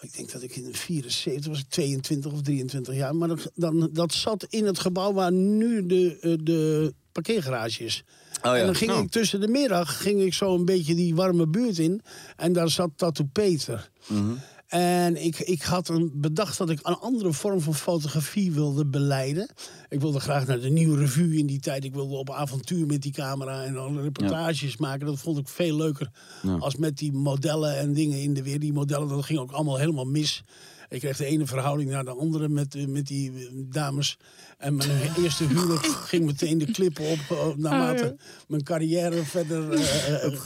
Ik denk dat ik in 74 was, ik 22 of 23 jaar. Maar dat, dan, dat zat in het gebouw waar nu de, eh, de parkeergarage is. ja. En dan ging Oh. ik tussen de middag ging ik zo een beetje die warme buurt in. En daar zat Tattoo Peter. Mhm. En ik, ik had een, bedacht dat ik een andere vorm van fotografie wilde beleiden. Ik wilde graag naar de nieuwe revue in die tijd. Ik wilde op avontuur met die camera en alle reportages maken. Dat vond ik veel leuker als met die modellen en dingen in de weer. Die modellen, dat ging ook allemaal helemaal mis. Ik kreeg de ene verhouding naar de andere met, eh, met die eh, dames. En mijn eerste huwelijk ging meteen de klippen op eh, naarmate mijn carrière verder eh, eh,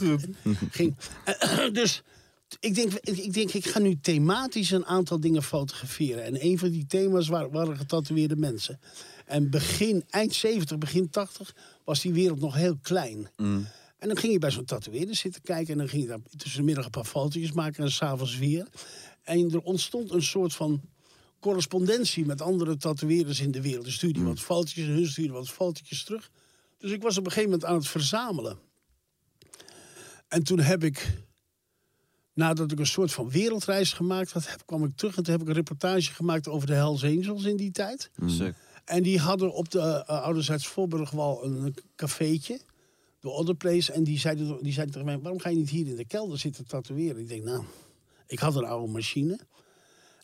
ging. dus ik denk, ik ik denk, ik ga nu thematisch een aantal dingen fotograferen. En een van die thema's waren, waren getatoeëerde mensen. En begin, eind 70, begin 80 was die wereld nog heel klein. En dan ging je bij zo'n tatoeëerder zitten kijken. En dan ging je daar tussen de middag een paar fotootjes maken. En s'avonds weer. En er ontstond een soort van correspondentie met andere tatoeëerders in de wereld. Dus stuurde die wat fotootjes en hun stuurde wat fotootjes terug. Dus ik was op een gegeven moment aan het verzamelen. En toen heb ik, nadat ik een soort van wereldreis gemaakt had, heb- kwam ik terug en toen heb ik een reportage gemaakt over de Hells Angels in die tijd. Sick. En die hadden op de eh, Ouderzijds Voorburgwal een, een cafeetje. De Other Place. En die zeiden, die zeiden tegen mij, waarom ga je niet hier in de kelder zitten tatoeëren? Ik denk, nou, ik had een oude machine.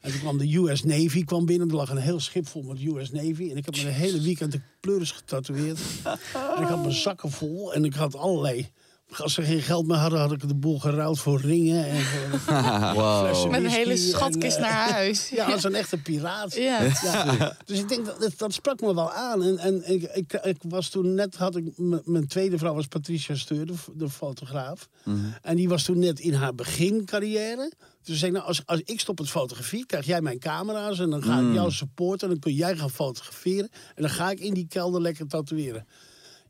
En toen kwam de US Navy kwam binnen. Er lag een heel schip vol met US Navy. En ik had me een hele weekend de pleuris getatoeëerd. en ik had mijn zakken vol. En ik had allerlei... Als ze geen geld meer hadden, had ik de boel geruild voor ringen. En voor flessen Met een hele whisky en, schatkist eh, naar huis. ja, als een echte piraat. Ja. Ja. Dus ik denk, dat, dat, dat sprak me wel aan. En, en ik, ik, ik was toen net, had ik, m- mijn tweede vrouw was Patricia Steur, de, f- de fotograaf. Mhm. En die was toen net in haar begincarrière. Dus ik zei, nou, als, als ik stop met fotografie, krijg jij mijn camera's en dan ga Mhm. ik jou supporten. En dan kun jij gaan fotograferen. En dan ga ik in die kelder lekker tatoeëren.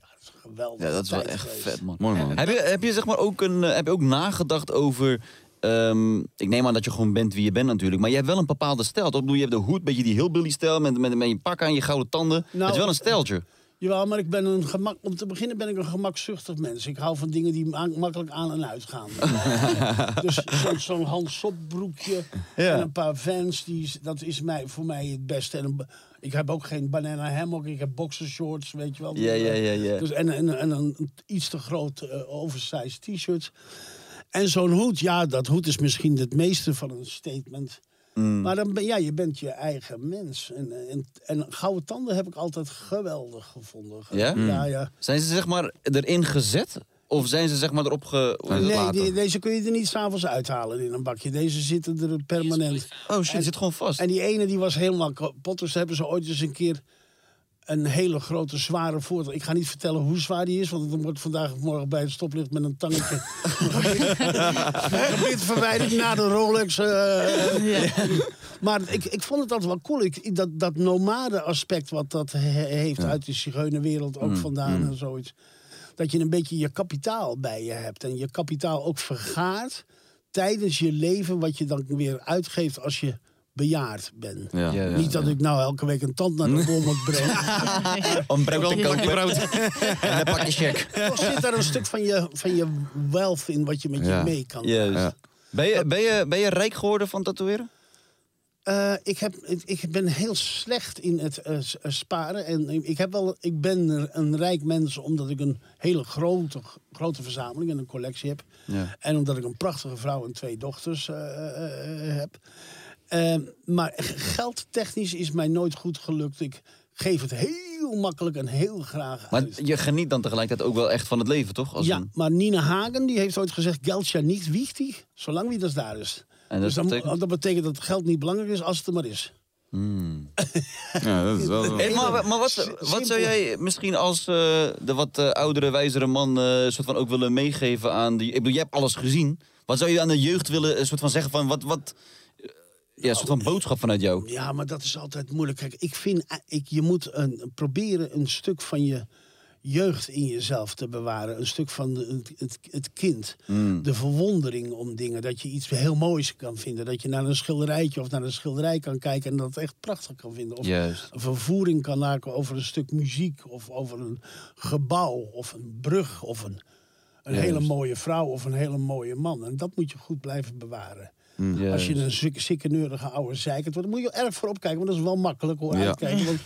Ja, dat is geweldig. Ja, dat is wel echt vet, man. Mooi, man. Heb je, heb je zeg maar ook een, eh, heb je ook nagedacht over. ehm, ik neem aan dat je gewoon bent wie je bent natuurlijk. Maar je hebt wel een bepaalde stijl. Toch? Ik bedoel, je hebt de hoed, beetje die hillbilly-stijl. Met, met, met je pak aan, je gouden tanden. Nou, het is wel een stijltje. Jawel, maar ik ben een gemak, om te beginnen ben ik een gemakzuchtig mens. Ik hou van dingen die ma- makkelijk aan en uit gaan. dus zo'n zo'n Hans Sop broekje Ja. en een paar Vans, die, is- dat is mij, voor mij het beste. En een ba- ik heb ook geen banana hammock, ik heb boxershorts, weet je wel. Ja, ja, ja, ja. Dus en, en, en een iets te groot eh, oversized t-shirt. En zo'n hoed, ja, dat hoed is misschien het meeste van een statement. Maar dan ben, ja, je bent je eigen mens. En, en, en gouden tanden heb ik altijd geweldig gevonden. Ja? Hmm. Ja, ja. Zijn ze zeg maar erin gezet? Of zijn ze zeg maar erop ge... Nee, gelaten? die- deze kun je er niet s'avonds uithalen in een bakje. Deze zitten er permanent. Oh shit, zit gewoon vast. En die ene die was helemaal kapot. Dus hebben ze ooit eens een keer een hele grote, zware voertuig. Ik ga niet vertellen hoe zwaar die is, want dan wordt vandaag of morgen bij het stoplicht met een tangetje. Dit verwijderd na de Rolex. eh, Maar ik, ik vond het altijd wel cool. Ik, dat, dat nomade aspect wat dat he- heeft uit de zigeunerwereld Mm, ook vandaan en zoiets. Dat je een beetje je kapitaal bij je hebt. En je kapitaal ook vergaart tijdens je leven. Wat je dan weer uitgeeft als je bejaard bent. Ja. Ja, ja, Niet dat ik nou elke week een tand naar de bol moet brengen. Een Heb wel een pakje brood. en een pakje check. Toch zit daar een stuk van je, van je wealth in wat je met Ja. je mee kan. Juist. Ja. Ben, je, ben, je, ben je rijk geworden van tatoeëren? Eh, ik, heb, ik- ik ben heel slecht in het eh, s- eh, sparen. En ik, heb wel, ik ben een rijk mens omdat ik een hele grote, grote verzameling en een collectie heb. En omdat ik een prachtige vrouw en twee dochters eh, eh, eh, heb. Eh, maar geldtechnisch is mij nooit goed gelukt. Ik geef het heel makkelijk en heel graag Maar uit. je geniet dan tegelijkertijd ook wel echt van het leven, toch? Als Ja, een- maar Nina Hagen die heeft ooit gezegd: geld ja niet wichtig, zolang wie dat daar is. En dat dus dan, betekent? dat betekent dat geld niet belangrijk is als het er maar is. Ja, dat is wel... Hey, maar, maar wat, wat zou jij misschien als eh, de wat eh, oudere, wijzere man eh, soort van ook willen meegeven aan die... Ik bedoel, jij hebt alles gezien. Wat zou je aan de jeugd willen eh, soort van zeggen van wat... wat eh, ja, een soort van boodschap vanuit jou. Ja, maar dat is altijd moeilijk. Kijk, ik vind, eh, ik, je moet een, proberen een stuk van je jeugd in jezelf te bewaren. Een stuk van de- het, het, het kind. De verwondering om dingen. Dat je iets heel moois kan vinden. Dat je naar een schilderijtje of naar een schilderij kan kijken en dat echt prachtig kan vinden. Of Juist. een vervoering kan maken over een stuk muziek. Of over een gebouw of een brug of een, een hele mooie vrouw of een hele mooie man. En dat moet je goed blijven bewaren. Als je een zikke, zikke neurige oude zeikert wordt, dan moet je erg voor opkijken. Want dat is wel makkelijk hoor, Ja. uitkijken. Want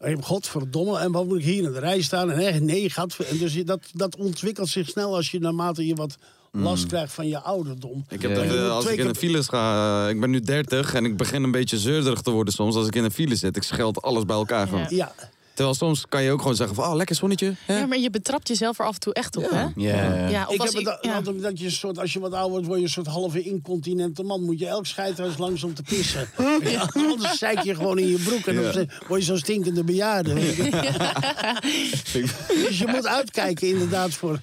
je hebt, godverdomme, en wat moet ik hier in de rij staan? En echt, nee, gaat... En dus je- dat, dat ontwikkelt zich snel als je naarmate je wat last krijgt van je ouderdom. Mm. Ik heb dat, eh, als Twee ik in keer- de files ga, eh, ik ben nu 30 en ik begin een beetje zeurderig te worden soms als ik in de file zit. Ik scheld alles bij elkaar gewoon. Ja, Terwijl soms kan je ook gewoon zeggen van, oh, lekker zonnetje. Hè? Ja, maar je betrapt jezelf er af en toe echt op, hè? Ja. Ja, of ik als heb het ik- al- ja. altijd dat je een soort, als je wat ouder wordt, word je een soort halve incontinente man. Moet je elk scheidhuis langs om te pissen. Ja, Anders zeik je gewoon in je broek en dan word je zo'n stinkende bejaarde. weet je. Dus je moet uitkijken inderdaad voor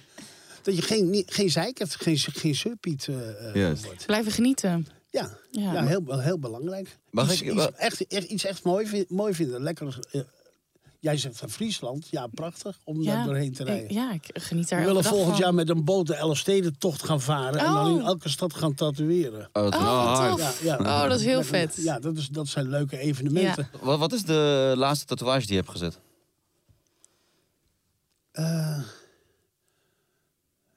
dat je geen, niet- geen zeikert, geen, geen surpiet eh, eh, Juist. wordt. Blijven genieten. Ja, Ja. ja. heel, heel belangrijk. Mag iets, ik- iets wa- echt, echt, iets echt mooi, vin- mooi vinden. Lekker, eh, jij zegt van Friesland, ja prachtig om daar doorheen te rijden. Ik, ja, ik geniet daar elke We willen dag volgend van. jaar met een boot de Elfstedentocht gaan varen. En Oh. dan in elke stad gaan tatoeëren. Oh, wat- Oh, wat hard. tof. Oh, dat is heel vet. Ja, dat, is, dat zijn leuke evenementen. Wat, wat is de laatste tatoeage die je hebt gezet?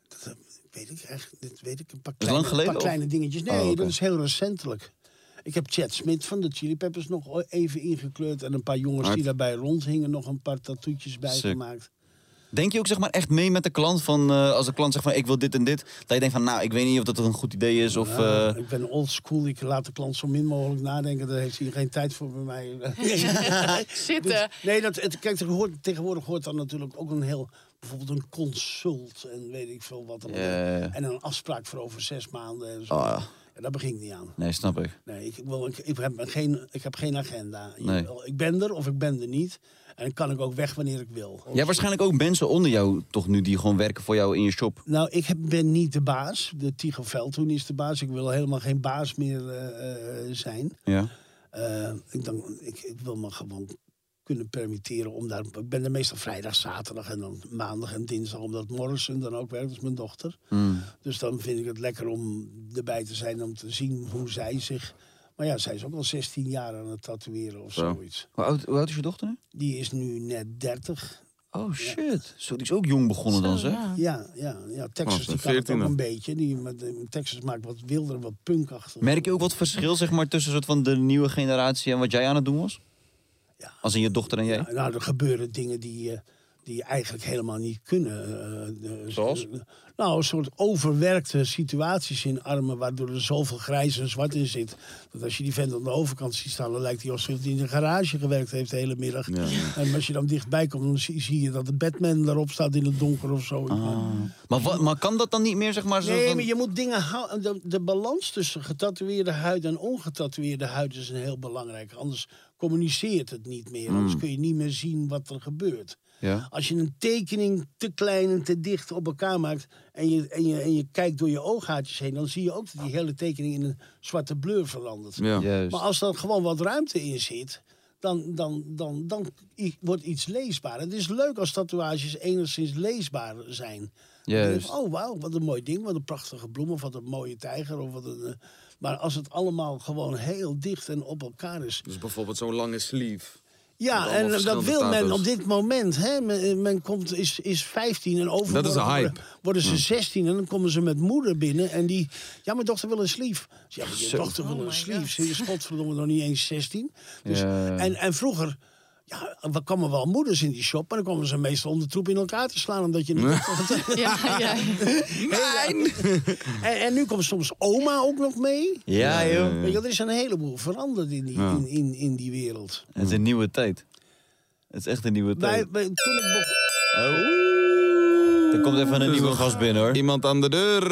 Dat, weet ik echt, dit weet ik, een paar is kleine, lang geleden, paar of? kleine dingetjes. Nee, Oh, oké. dat is heel recentelijk. Ik heb Chad Smith van de Chili Peppers nog o- even ingekleurd. En een paar jongens Hard. die daarbij rondhingen, nog een paar tattoetjes bijgemaakt. Denk je ook zeg maar echt mee met de klant? Van, eh, als de klant zegt van ik wil dit en dit. Dat je denkt van nou ik weet niet of dat een goed idee is. Of, Ja, eh, Ah, ik ben old school, ik laat de klant zo min mogelijk nadenken. Daar heeft hij geen tijd voor bij mij. Zitten. Dus- nee, dat, het, kijk, er hoort, tegenwoordig hoort dan natuurlijk ook een heel... Bijvoorbeeld een consult en weet ik veel wat. allemaal. Ja, ja. En een afspraak voor over zes maanden. En zo. Ah. Ja, daar begin ik niet aan. Nee, snap ik. Nee, ik, ik wil, ik, ik heb geen, ik heb geen agenda. Je- Nee. Ik ben er of ik ben er niet. En dan kan ik ook weg wanneer ik wil. Ja, waarschijnlijk ook mensen onder jou toch nu die gewoon werken voor jou in je shop. Nou, ik heb- ben niet de baas. De Tigo Veldhoen is de baas. Ik wil helemaal geen baas meer eh, eh, zijn. Ja. Eh, ik, dan, ik, ik wil me gewoon kunnen permitteren om daar. Ik ben er meestal vrijdag, zaterdag en dan maandag en dinsdag, omdat Morrison dan ook werkt, dat is mijn dochter. Hmm. Dus dan vind ik het lekker om erbij te zijn, om te zien hoe zij zich. Maar ja, zij is ook al 16 jaar aan het tatoeëren of Zo. zoiets. Hoe oud, hoe oud is je dochter nu? Die is nu net 30. Oh shit. Zo, die is ook jong begonnen dan zeg. Ja, ja, ja. Oh, Texas zo'n die kan het ook 14e. een beetje. Die, maar de- Texas maakt wat wilder, wat punkachtig. Merk je ook wat verschil zeg maar, tussen soort van de nieuwe generatie en wat jij aan het doen was? Ja. Als in je dochter en jij? Ja, nou, er gebeuren dingen die, eh, die je eigenlijk helemaal niet kunnen. eh, de- Zoals? nou, een soort overwerkte situaties in armen... waardoor er zoveel grijs en zwart in zit. Dat als je die vent aan de overkant ziet staan... dan lijkt hij alsof hij in een garage gewerkt heeft de hele middag. En als je dan dichtbij komt, dan zie, zie je dat de Batman daarop staat in het donker of zo. Ah. Maar, wat, maar kan dat dan niet meer zeg maar? Zo Nee, van- maar je moet dingen houden. De, de balans tussen getatoeëerde huid en ongetatoeëerde huid is een heel belangrijk. Anders communiceert het niet meer. Anders kun je niet meer zien wat er gebeurt. Hmm. Ja. Als je een tekening te klein en te dicht op elkaar maakt en je, en je, en je kijkt door je ooghaartjes heen, dan zie je ook dat die hele tekening in een zwarte blur verandert. Ja. Juist. Maar als er gewoon wat ruimte in zit, dan, dan, dan, dan i- wordt iets leesbaar. Het is leuk als tatoeages enigszins leesbaar zijn. Dan Juist. denk je, Oh, wauw, wat een mooi ding, wat een prachtige bloem of wat een mooie tijger. Of wat een, eh, maar als het allemaal gewoon heel dicht en op elkaar is. Dus bijvoorbeeld zo'n lange sleeve. Met Ja, allemaal en eh, dat verschillende wil men tato's. op dit moment. Hè? Men, men komt, is, is 15 en overmorgen Dat is de hype. Worden, worden ze 16 en dan komen ze met moeder binnen. En die, ja, mijn dochter wil een sleeve. Ja, maar je dochter wil een sleeve. Ze is godverdomme nog niet eens 16. Dus, Ja. en, en vroeger... Ja, er kwamen wel moeders in die shop, maar dan kwamen ze meestal om de troep in elkaar te slaan. Omdat je niet Ja, ja. en, en nu komt soms oma ook nog mee. Ja, joh. Weet je, wel, er is een heleboel veranderd in die, in, in, in die wereld. Het is een nieuwe tijd. Het is echt een nieuwe Wij, tijd. wij- toen ik begon- Oh. Er komt even een nieuwe gast binnen hoor. Iemand aan de deur.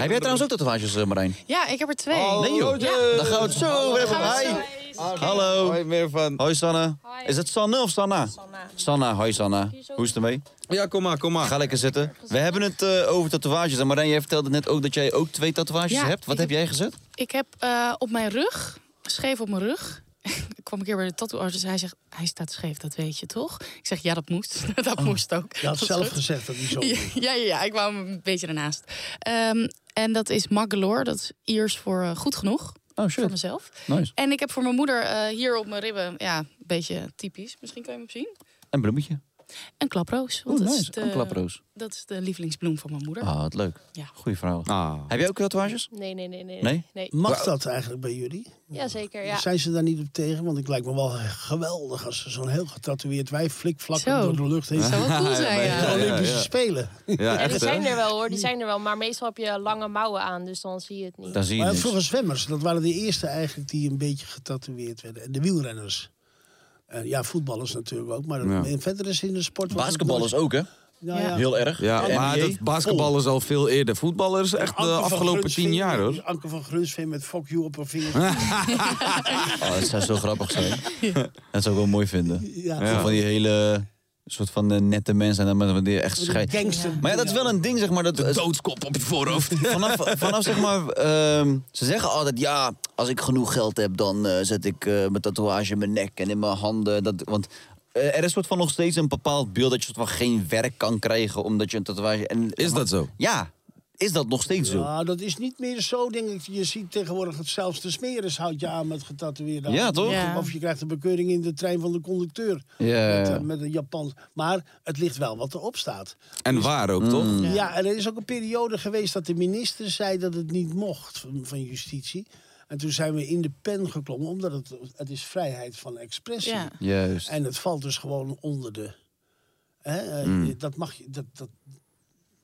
Heb jij trouwens ook tatoeages, eh, Marijn? ja, ik heb er twee. Oh. nee joh. Ja. Dan gaan we het zo weer even. Gaan we Hi. Hallo. Hoi, meer van. Hoi Sanne. Is het Sanne of Sanna? Sanna. Sanna, hoi Sanna. Hoe is het ermee? Ja, kom maar, kom maar. Ga lekker zitten. We hebben het eh, over tatoeages. En Marijn, jij vertelde net ook dat jij ook twee tatoeages Ja, hebt. Wat ik heb heb- jij gezet? Ik heb eh, op mijn rug, scheef op mijn rug. ik kwam een keer bij de tattooarts en hij zegt, hij staat scheef, dat weet je toch? Ik zeg, ja, dat moest. dat moest ook. je had Dat is Oh. zelf goed. gezegd dat die zo Ja, ja, ja, ja, ik wou hem een beetje ernaast. Ehm, en dat is Magalore, dat is Iers voor eh, goed genoeg. Oh Voor mezelf. Nice. En ik heb voor mijn moeder eh, hier op mijn ribben, ja, een beetje typisch. Misschien kan je hem zien. Een bloemetje. Een klaproos. Oh, want dat is nice. de- Een klaproos. Dat is de lievelingsbloem van mijn moeder. Ah, wat leuk. Ja. Goeie verhaal. Ah. Heb jij ook tatoeages? Nee, nee, nee, nee. Mm. Nee? Mag dat eigenlijk bij jullie? Jazeker, ja. Zijn ze daar niet op tegen? Want ik lijkt me wel geweldig als ze zo'n heel getatoeëerd wijf flikvlak Zo. door de lucht heen. Zou wel cool zijn, ja. De Olympische Spelen. Ja, Ja, die echt hè? zijn er wel hoor, die zijn er wel. Maar meestal heb je lange mouwen aan, dus dan zie je het niet. Dan zie je Maar niks. vroeger zwemmers, dat waren de eerste eigenlijk die een beetje getatoeëerd werden. En de wielrenners. En ja, voetballers natuurlijk ook. Maar Ja. in verder is in de sport... was het Basketballers ook, hè? nooit- Nou ja. Heel erg. Ja, En maar NBA? dat basketballers al veel eerder. Voetballers echt Anke de van afgelopen Grunsveen- tien jaar hoor. Anke van Grunsveen met fuck you op haar vinger. Oh, dat zou zo grappig zijn. Dat zou ik wel mooi vinden. Ja. Zo Van die hele soort van eh, nette mensen en dan met- met die echt scheid. Gangster. Maar ja, dat is wel een ding, zeg maar. Dat, Doodskop op je voorhoofd. vanaf, vanaf zeg maar, ehm, ze zeggen altijd ja, als ik genoeg geld heb, dan eh, zet ik eh, mijn tatoeage in mijn nek en in mijn handen. Dat, want eh, er is soort van nog steeds een bepaald beeld dat je soort van geen werk kan krijgen omdat je een tatoeage. En, Is dat zo? Ja. Is dat nog steeds zo? Ja, dat is niet meer zo, denk ik. Je ziet tegenwoordig dat zelfs de smeres houdt je aan met getatoeëerde Ja, handen. toch? Ja. Of je krijgt een bekeuring in de trein van de conducteur. Ja, Met, ja. eh, met een Japan. Maar het ligt wel wat erop staat. En waar ook, toch? Mm. Ja. en er is ook een periode geweest dat de minister zei dat het niet mocht van, van justitie. En toen zijn we in de pen geklommen, omdat het, het is vrijheid van expressie. Ja. Juist. En het valt dus gewoon onder de. Hè, eh, Mm. Dat mag je. Dat, dat,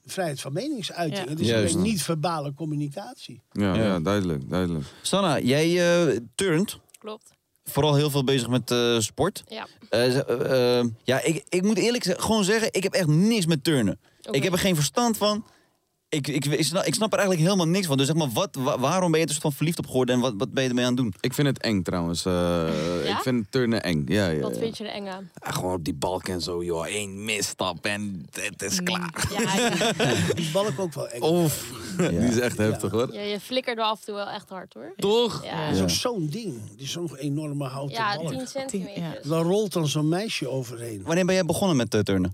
vrijheid van meningsuiting. Ja. Het is Juist. alleen niet-verbale communicatie. Ja, Ja. ja, duidelijk, duidelijk. Sanna, jij eh turnt. Klopt. Vooral heel veel bezig met eh, sport. Ja. Eh, z- eh, eh, ja, ik, ik moet eerlijk ze- gewoon zeggen, ik heb echt niks met turnen. Oké. Ik heb er geen verstand van. Ik, ik, ik, snap, ik snap er eigenlijk helemaal niks van. Dus zeg maar, wat, wa- waarom ben je er soort van verliefd op geworden en wat, wat ben je ermee aan het doen? Ik vind het eng trouwens. eh, Ik vind turnen eng. Ja, ja, Wat ja. vind je er eng aan? Ah, gewoon op die balk en zo, joh. Eén misstap en het is klaar. Ja, ja. Die balk ook wel eng. Oef, die is echt heftig hoor. Je, je flikkert wel af en toe wel echt hard hoor. Toch? Ja, Dat is ja. ook zo'n ding. Die zo'n enorme houten balk. 10 centimeter. Ja, Daar rolt dan zo'n meisje overheen. Wanneer ben jij begonnen met eh, turnen?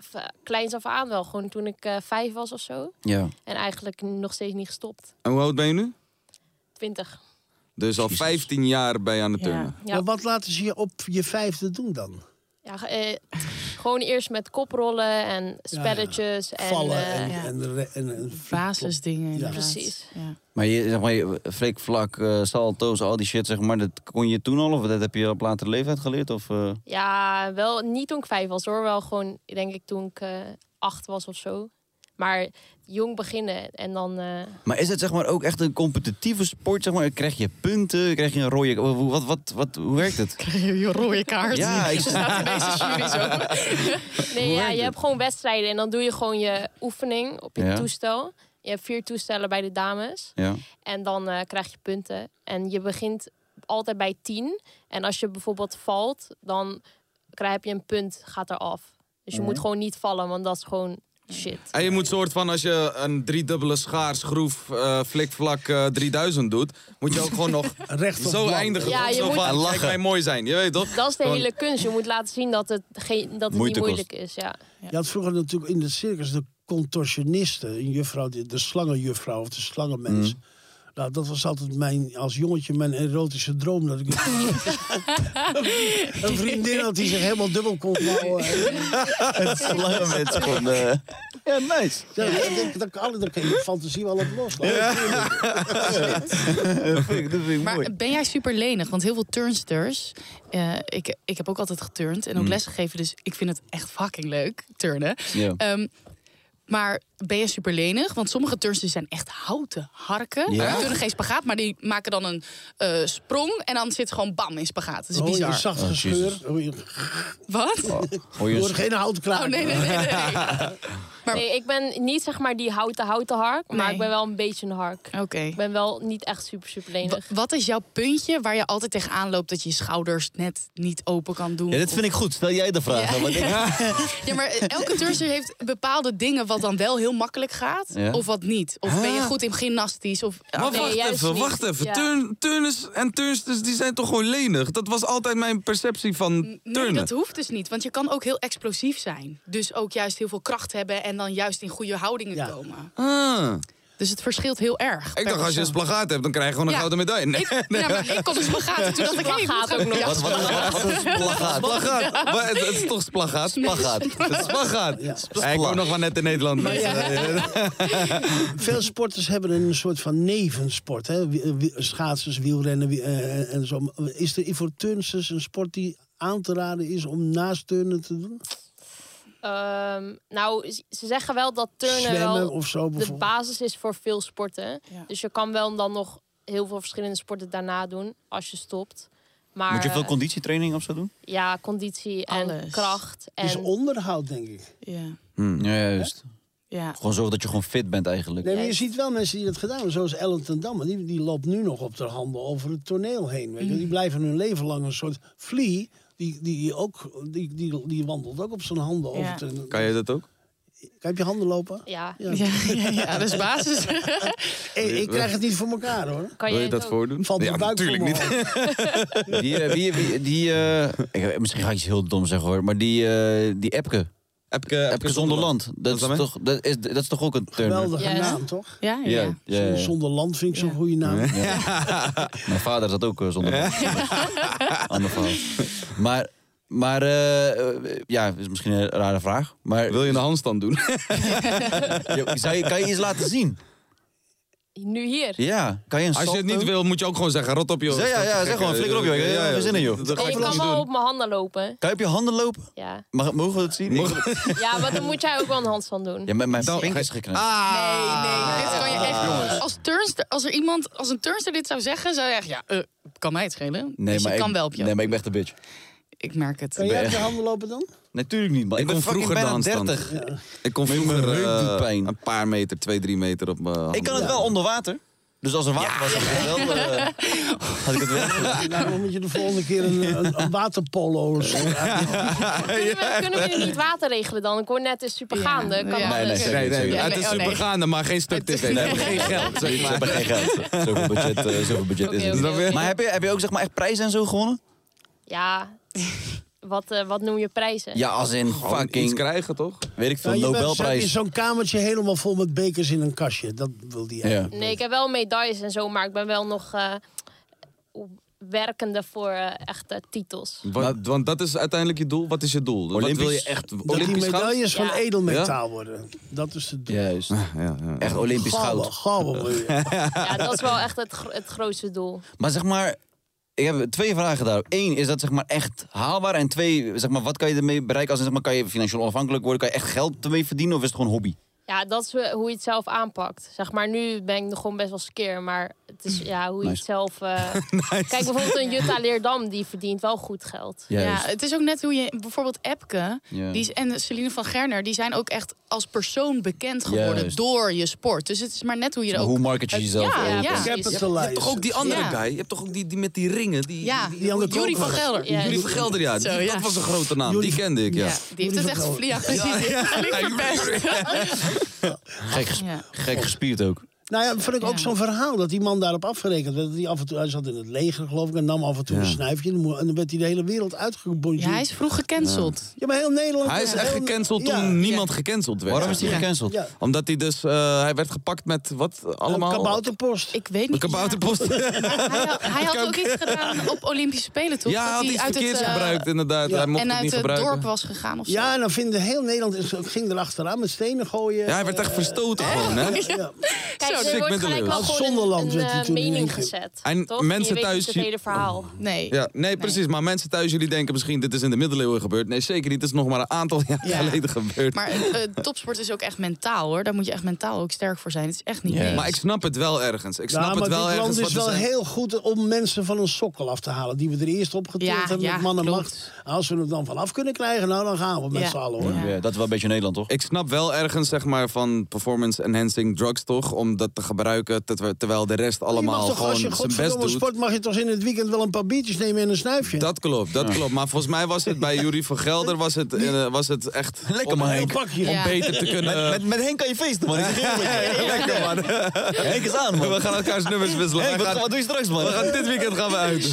v- kleins af aan wel. Gewoon toen ik eh, vijf was of zo. Ja. En eigenlijk nog steeds niet gestopt. En hoe oud ben je nu? 20. Dus al 15 jaar ben je aan het Ja. turnen. Ja. Maar wat laten ze je op je vijfde doen dan? Ja, ge- eh, gewoon eerst met koprollen en spelletjes. En, Vallen eh, en, ja. en, re- en, en Basisdingen. inderdaad. Precies. Ja. Maar je, zeg maar, je- freak, vlak, eh, salto's, al die shit, zeg maar, dat kon je toen al? Of dat heb je op latere leeftijd geleerd? Of, eh? Ja, wel niet toen ik vijf was hoor. Wel gewoon, denk ik, toen ik eh, acht was of zo. Maar jong beginnen en dan... eh, Maar is het zeg maar ook echt een competitieve sport? Zeg maar? Krijg je punten? Krijg je een rode... Hoe- Wat, wat, wat, hoe werkt het? Krijg je je rode kaart. Ja, ik- Je staat in deze jury zo. Nee, ja, werkt je hebt gewoon wedstrijden en dan doe je gewoon je oefening op je Ja. toestel. Je hebt vier toestellen bij de dames Ja. en dan eh, krijg je punten. En je begint altijd bij tien. En als je bijvoorbeeld valt, dan krijg heb je een punt, gaat eraf. Dus je moet gewoon niet vallen, want dat is gewoon shit. En je moet soort van, als je een driedubbele schaarschroef eh flikvlak eh 3000 doet, moet je ook gewoon nog Recht op zo blank. eindigen. Ja, toch? je zo moet- van, En kijk mij mooi zijn, je weet toch? Dat is de Gewoon- hele kunst. Je moet laten zien dat het, geen, dat het Moeite niet kost. moeilijk is. Ja. Je had vroeger natuurlijk in de circus de contorsioniste, een juffrouw, die- de slangenjuffrouw of de slangenmens. Mm. Nou, dat was altijd mijn, als jongetje mijn erotische droom. Dat ik een vriendin had die zich helemaal dubbel kon bouwen. Lange mensen gewoon... eh, Ja, nice. Ja, dat, dat, dat, dat kan je fantasie wel op loslaten. Dat vind ik, dat vind ik mooi. Maar ben jij super lenig? Want heel veel turnsters. eh, ik, ik heb ook altijd geturnd Mm. en ook lesgegeven. Dus ik vind het echt fucking leuk, turnen. Ja. Ehm, maar ben je super lenig? Want sommige turnsters zijn echt houten harken. Ja? Die kunnen geen spagaat, maar die maken dan een eh, sprong. En dan zit ze gewoon bam in spagaat. Dat is Hoor je bizar. een zacht Oh, gescheur. Jezus. Hoor je, Wat? Oh, Hoor je hoor een geen houtkraak. nee, nee, nee. nee, nee. Nee, ik ben niet zeg maar die houten houten hark, maar Nee. ik ben wel een beetje een hark. Oké. Ik ben wel niet echt super super lenig. Wa- Wat is jouw puntje waar je altijd tegenaan loopt dat je je schouders net niet open kan doen? Ja, dit vind ik goed. Stel jij de vraag. Ja. want ik- Ja, maar elke turnster heeft bepaalde dingen wat dan wel heel makkelijk gaat. Ja. Of wat niet. Of ben je goed in gymnastisch. Of, Ah. Ah, Maar Nee, wacht juist even, niet. wacht even. Ja. Turn, turners en turnsters die zijn toch gewoon lenig? Dat was altijd mijn perceptie van nee, turnen. dat hoeft dus niet. Want je kan ook heel explosief zijn. Dus ook juist heel veel kracht hebben en dan juist in goede houdingen Ja. komen. Ah. Dus het verschilt heel erg. per Ik dacht, als je een persoon. splagaat hebt, dan krijg je gewoon een Ja. gouden medaille. Nee. Ik, ja, maar ik kon dus spagaat. Toen dacht ik, hey, ik moet Spagaat gaan- ook nog. Ja, Wat, wat, wat, wat is plagaat? Splagaat. Maar het, het is toch splagaat? Plagaat. Het is Splagaat. Ja. Ik woon nog maar net in Nederland. dus- Veel sporters hebben een soort van nevensport. Hè? Wie- wie- Schaatsers, wielrennen wie- eh, en zo. Is er voor turnsters een sport die aan te raden is om naast turnen te doen? Ehm, nou, z- ze zeggen wel dat turnen Zwemmen wel of zo de bijvoorbeeld. basis is voor veel sporten. Ja. Dus je kan wel dan nog heel veel verschillende sporten daarna doen als je stopt. Maar Moet je veel eh, conditietraining of zo doen? ja, conditie en Alles. kracht en is onderhoud, denk ik. ja. Hmm. Ja, juist. ja. Gewoon zorgen dat je gewoon fit bent eigenlijk. Nee, maar je ziet wel mensen die dat gedaan hebben. Zoals Ellen ten Damme. Die, die loopt nu nog op de handen over het toneel heen. Weet je. Mhm. Die blijven hun leven lang een soort vlie. Die, die, ook, die, die, die wandelt ook op zijn handen Ja. over het toneel. Kan je dat ook? Kan je op je handen lopen? ja. Ja, ja, ja, dat is basis. Hey, ik krijg het niet voor elkaar, hoor. Kan Wil je het dat ook? voordoen? Valt ja, mijn buik voor natuurlijk me niet. af. Die, eh, wie, wie, die eh, ik, eh, misschien ga ik iets heel dom zeggen hoor, maar die, eh die Epke. Epke, Epke Epke zonder land. Dat is, Wat is dat toch, dat, is, dat is toch ook een turner? Geweldige Ja. naam, toch? Ja, ja. Ja, ja. ja, ja, ja. Zonder land vind ik zo'n Ja. goede naam. Mijn vader zat ook eh, zonder land. Ander verhaal. Maar, maar eh, eh, ja, is misschien een rare vraag. Maar Wil je een handstand doen? Ja, zou je- kan je iets laten zien? Nu hier. Ja, kan je een Als je het salto? niet wil, moet je ook gewoon zeggen, rot op joh. Zeg, ja, eh, ja, zeg gewoon, flikker op, joh. Ik heb geen zin in, joh. Dat ga Nee, ik ik gewoon Oh, kan niet wel doen. op mijn handen lopen. Kan je op je handen lopen? Ja. Mag, mogen we Nou, dat zien? ja, maar dan moet jij ook wel een handstand doen. Ja, met mijn Dan- pink is geknakt. Ah! Nee, dit kan je echt. Als, turnster, als er iemand, als een turnster dit zou zeggen, zou je echt, ja, eh, kan mij het schelen. Nee, dus je maar kan ik, wel op je. Nee, maar ik ben echt een bitch. Ik merk het. Kan jij op je handen lopen dan? Natuurlijk niet, man. Ik Ik, ben kon fucking vroeger bijna de handstand. 30. Ik kon Mijn vroeger rug doet eh, pijn. een paar meter, twee, drie meter op mijn Ik handen. kan het wel onder water. Dus als er water was, had ik het wel... eh, had ik het wel Nou, dan moet je de volgende keer een, een, een waterpolo of zo. Kunnen, we, kunnen we nu niet water regelen dan? Ik hoor net, het is super gaande. Kan Nee, Ja. nee, alles. zeker. Nee, nee, Ja, het nee, is oh, nee. supergaande, maar geen stuk tv. We hebben eh, geen geld, zeg Ze maar. hebben geen geld. Zoveel budget, eh, zoveel budget Oké, is oké, het. oké. Maar heb je, heb je ook zeg maar echt prijzen en zo gewonnen? Ja, wat, eh, wat noem je prijzen? Ja, als in Gewoon iets fucking, krijgen, toch? weet ik veel, Nou, je bent- zet in Nobelprijs. zo'n kamertje helemaal vol met bekers in een kastje. Dat wil die Ja. eigenlijk. Nee, ik heb wel medailles en zo, maar ik ben wel nog eh, werkende voor eh, echte titels. Want, want dat is uiteindelijk je doel. Wat is je doel? Wat wil je Olympisch? echt? Dat die Olympisch goud? medailles van Ja. edelmetaal worden. Dat is het doel. Juist. Echt Olympisch Gouden, goud. gouden wil je. Ja, dat is wel echt het, gro- het grootste doel. Maar zeg maar, ik heb twee vragen daarop. Eén, is dat zeg maar echt haalbaar? En twee, zeg maar, wat kan je ermee bereiken? Als in, zeg maar, kan je financieel onafhankelijk worden? Kan je echt geld ermee verdienen? Of is het gewoon hobby? Ja, dat is eh, hoe je het zelf aanpakt. Zeg maar, nu ben ik nog gewoon best wel skeer, maar het is ja, hoe je Nice. het zelf... eh, Kijk, bijvoorbeeld een Jutta Leerdam, die verdient wel goed geld. Ja, het is ook net hoe je bijvoorbeeld Epke Ja. die is, en Celine van Gerner, die zijn ook echt als persoon bekend geworden Juist. door je sport. Dus het is maar net hoe je er Maar ook. hoe market je het- jezelf Ja, ook? ja, Ja. precies. Capitalize. Toch ook die andere Ja. guy? Je hebt toch ook die, die met die ringen? Die, Ja, die, die andere Jury van koper. Gelder. Ja. Jullie Jury van Gelder, ja. Zo, Die- ja. Dat was een grote naam. Jury Die kende ik, ja. Ja, die heeft het echt. Jury van Ja, precies. Die heeft het flink verpest. Gek, ges- Ja. gek gespierd ook. Nou ja, vond ik ook Ja. zo'n verhaal dat die man daarop afgerekend werd. Dat hij, af en toe, hij zat in het leger, geloof ik, en nam af en toe een snuifje. En dan mo- en dan werd hij de hele wereld uitgebonjourd. Ja, hij is vroeg gecanceld. Ja, maar heel Nederland. Hij is echt heel- gecanceld ja. toen niemand gecanceld werd. Waarom is die Ja. gecanceld? Ja. Omdat hij dus... eh, hij werd gepakt met wat allemaal? Kabouterpost. Ik weet Een niet. kabouterpost. Ja, hij, had- hij had ook iets gedaan op Olympische Spelen, toch? Ja, hij Dat had iets uit het, verkeerds eh, gebruikt, inderdaad. ja. Hij mocht En het uit niet het gebruiken. dorp was gegaan of zo. Ja, en dan vinden heel Nederland is- ging erachteraan met stenen gooien. Eh, Ja, hij werd echt verstoten gewoon, hè? Ja. Kijk, Sick er wordt gelijk middeleeuwen. wel Als gewoon een, Zonderland een, werd hij eh, toen mening ingegeven. gezet. En toch? mensen je weet thuis Oh. niet het zien- hele verhaal. Nee. Ja, nee, precies. Maar mensen thuis, jullie denken misschien dit is in de middeleeuwen gebeurd. Nee, zeker niet. Het is nog maar een aantal jaar Ja. geleden gebeurd. Maar, Maar eh, topsport is ook echt mentaal, hoor. Daar moet je echt mentaal ook sterk voor zijn. Het is echt niet niks. ik snap het wel ergens. Ik Ja, snap maar het wel dit ergens. land is wat wel er zijn. heel goed om mensen van een sokkel af te halen. Die we er eerst opgetild Ja, hebben ja, met man en klopt. macht. Als we het dan vanaf kunnen krijgen, nou dan gaan we met Ja. z'n allen hoor. Ja. Ja, dat is wel een beetje Nederland, toch? Ik snap wel ergens zeg maar, van performance enhancing drugs toch? Om dat te gebruiken ter- terwijl de rest Je allemaal mag toch, gewoon als je zijn best godverdomme doet. sport, mag je toch in het weekend wel een paar biertjes nemen en een snuifje? Dat klopt, dat klopt. Maar volgens mij was het bij Jury van Gelder was het, eh, was het echt Lekker, om, man, Een Henk. pakje. Ja. om beter te kunnen. Met, met Henk kan je feesten, man. Ik zeg je eerlijk. Lekker man. Henk is aan, man. We gaan elkaars nummers wisselen. Henk, Wij wat, gaan- wat doe je straks, man? we gaan dit weekend gaan we uit.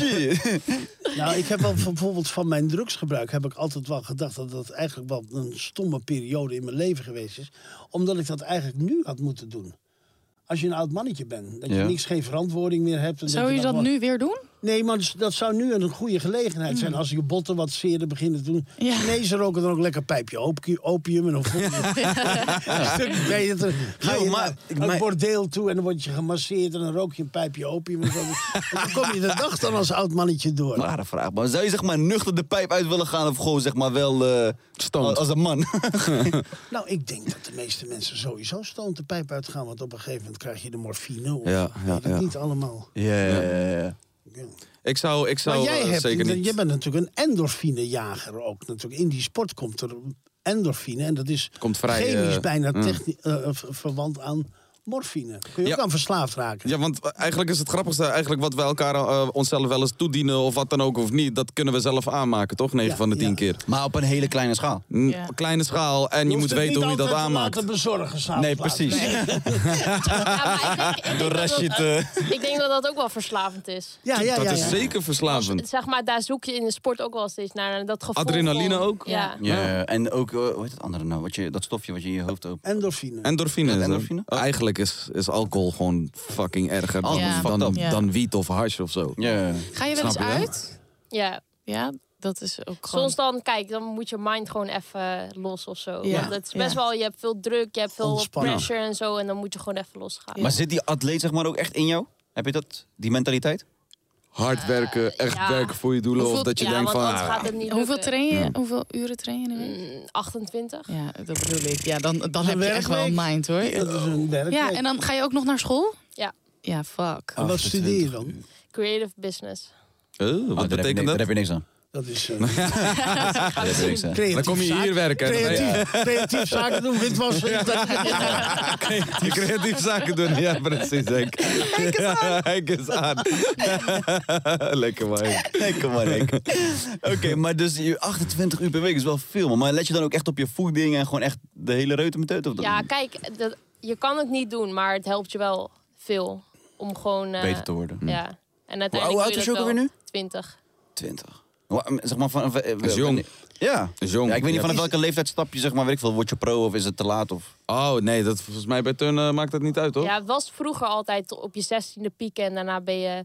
Nou, ik heb wel van- bijvoorbeeld van mijn drugsgebruik heb ik altijd wel gedacht dat dat eigenlijk wel een stomme periode in mijn leven geweest is. Omdat ik dat eigenlijk nu had moeten doen. Als je een oud mannetje bent, dat je Ja. niks, geen verantwoording meer hebt. en Zou je dat dan- nu weer doen? Nee, maar dus dat zou nu een goede gelegenheid zijn als je botten wat zeerder beginnen te doen. Mm. Ja. Chinezen roken dan ook lekker pijpje opium, opium en dan voel eh, je een stuk beter. Dan Ga Jo, je maar- naar ik- een maar- bordeel toe en dan word je gemasseerd en dan rook je een pijpje opium. En zo. En dan kom je de dag dan als oud mannetje door. Een Rare vraag, man. Zou je zeg maar nuchter de pijp uit willen gaan of gewoon zeg maar wel eh, als, als een man? Nou, ik denk dat de meeste mensen sowieso stoont de pijp uitgaan, want op een gegeven moment krijg je de morfine. Of, Ja, ja, weet ik ja. Niet allemaal. Ja, ja, ja, ja. Ja. Ik zou, ik Maar zou jij eh, hebt, zeker niet. je bent natuurlijk een endorfinejager ook. Natuurlijk. In die sport komt er endorfine en dat is Komt vrij, chemisch eh, bijna techni- eh, eh, ver- verwant aan morfine. Kun je Ja. ook aan verslaafd raken. Ja, want eigenlijk is het grappigste eigenlijk wat we elkaar eh, onszelf wel eens toedienen of wat dan ook of niet. Dat kunnen we zelf aanmaken, toch? 9 Ja, van de 10 ja. keer. Maar op een hele kleine schaal. N- Ja. Kleine schaal en je, hoeft moet het weten niet hoe je dat altijd te aanmaakt. laten bezorgen s'avonds Nee, laat. precies. Ja, maar ik, denk- ik Door denk dat Rashid. dat, eh, ik denk dat dat ook wel verslavend is. Ja, ja, ja, Dat ja. is zeker verslavend. Zeg maar, daar zoek je in de sport ook wel steeds naar. En dat gevoel Adrenaline van- ook? Ja. Ja, en ook, eh, hoe heet het andere nou? Wat je, dat stofje wat je in je hoofd opent. Endorfine. Endorfine. is dat. endorfine? Eigenlijk is, is alcohol gewoon fucking erger dan, Ja. dan, Fucked up. dan wiet of hash of zo. Ja. Ga je wel eens Snap je, hè? uit? ja. Ja, dat is ook gewoon... Soms dan, kijk, dan moet je mind gewoon even los of zo. Ja. Want het is best Ja. wel, je hebt veel druk, je hebt veel Ontspannen. pressure en zo. En dan moet je gewoon even losgaan. Maar zit die atleet zeg maar ook echt in jou? Heb je dat, die mentaliteit? Hard werken, echt ja. werken voor je doelen. Of Hoeveel- dat je ja, denkt want van... anders ah, gaat het niet Hoeveel, lukken. train je, hoeveel uren train je in de week? Mm, 28. Ja, dat bedoel ik. Ja, dan, dan heb je werkweek. echt wel een mind hoor. Dat is een werk. Ja, en dan ga je ook nog naar school? Ja. Ja, fuck. En wat studeer je dan? Creative business. eh, wat Oh, daar heb je betekent ni- dat? Daar heb je niks aan. Dat is eh, Daar heb je niks aan. creatief Dan kom je hier zaken- werken. en dan- Creatief, creatief zaken doen, witwassen. Je creatief zaken doen. Ja, precies. Henk Henk is aan. Lekker man. Henk. Lekker man, Henk. Oké, maar dus je- 28 uur per week is wel veel. man. Maar let je dan ook echt op je voeding en gewoon echt de hele reuter met teut? Of dat- Ja, kijk, dat, je kan het niet doen, maar het helpt je wel veel. Om gewoon... eh, Beter te worden. Ja. En uiteindelijk oud wil is dat je ook wel. alweer 20. 20. Wa- Zeg maar van... van- Is jong. Ja. Is jong. Ja, ik weet niet vanaf Ja. welke leeftijdsstap je zeg maar, weet ik veel, word je pro of is het te laat of... Oh nee, dat, volgens mij bij turnen maakt dat niet uit hoor. Ja, het was vroeger altijd op je 16e pieken en daarna ben je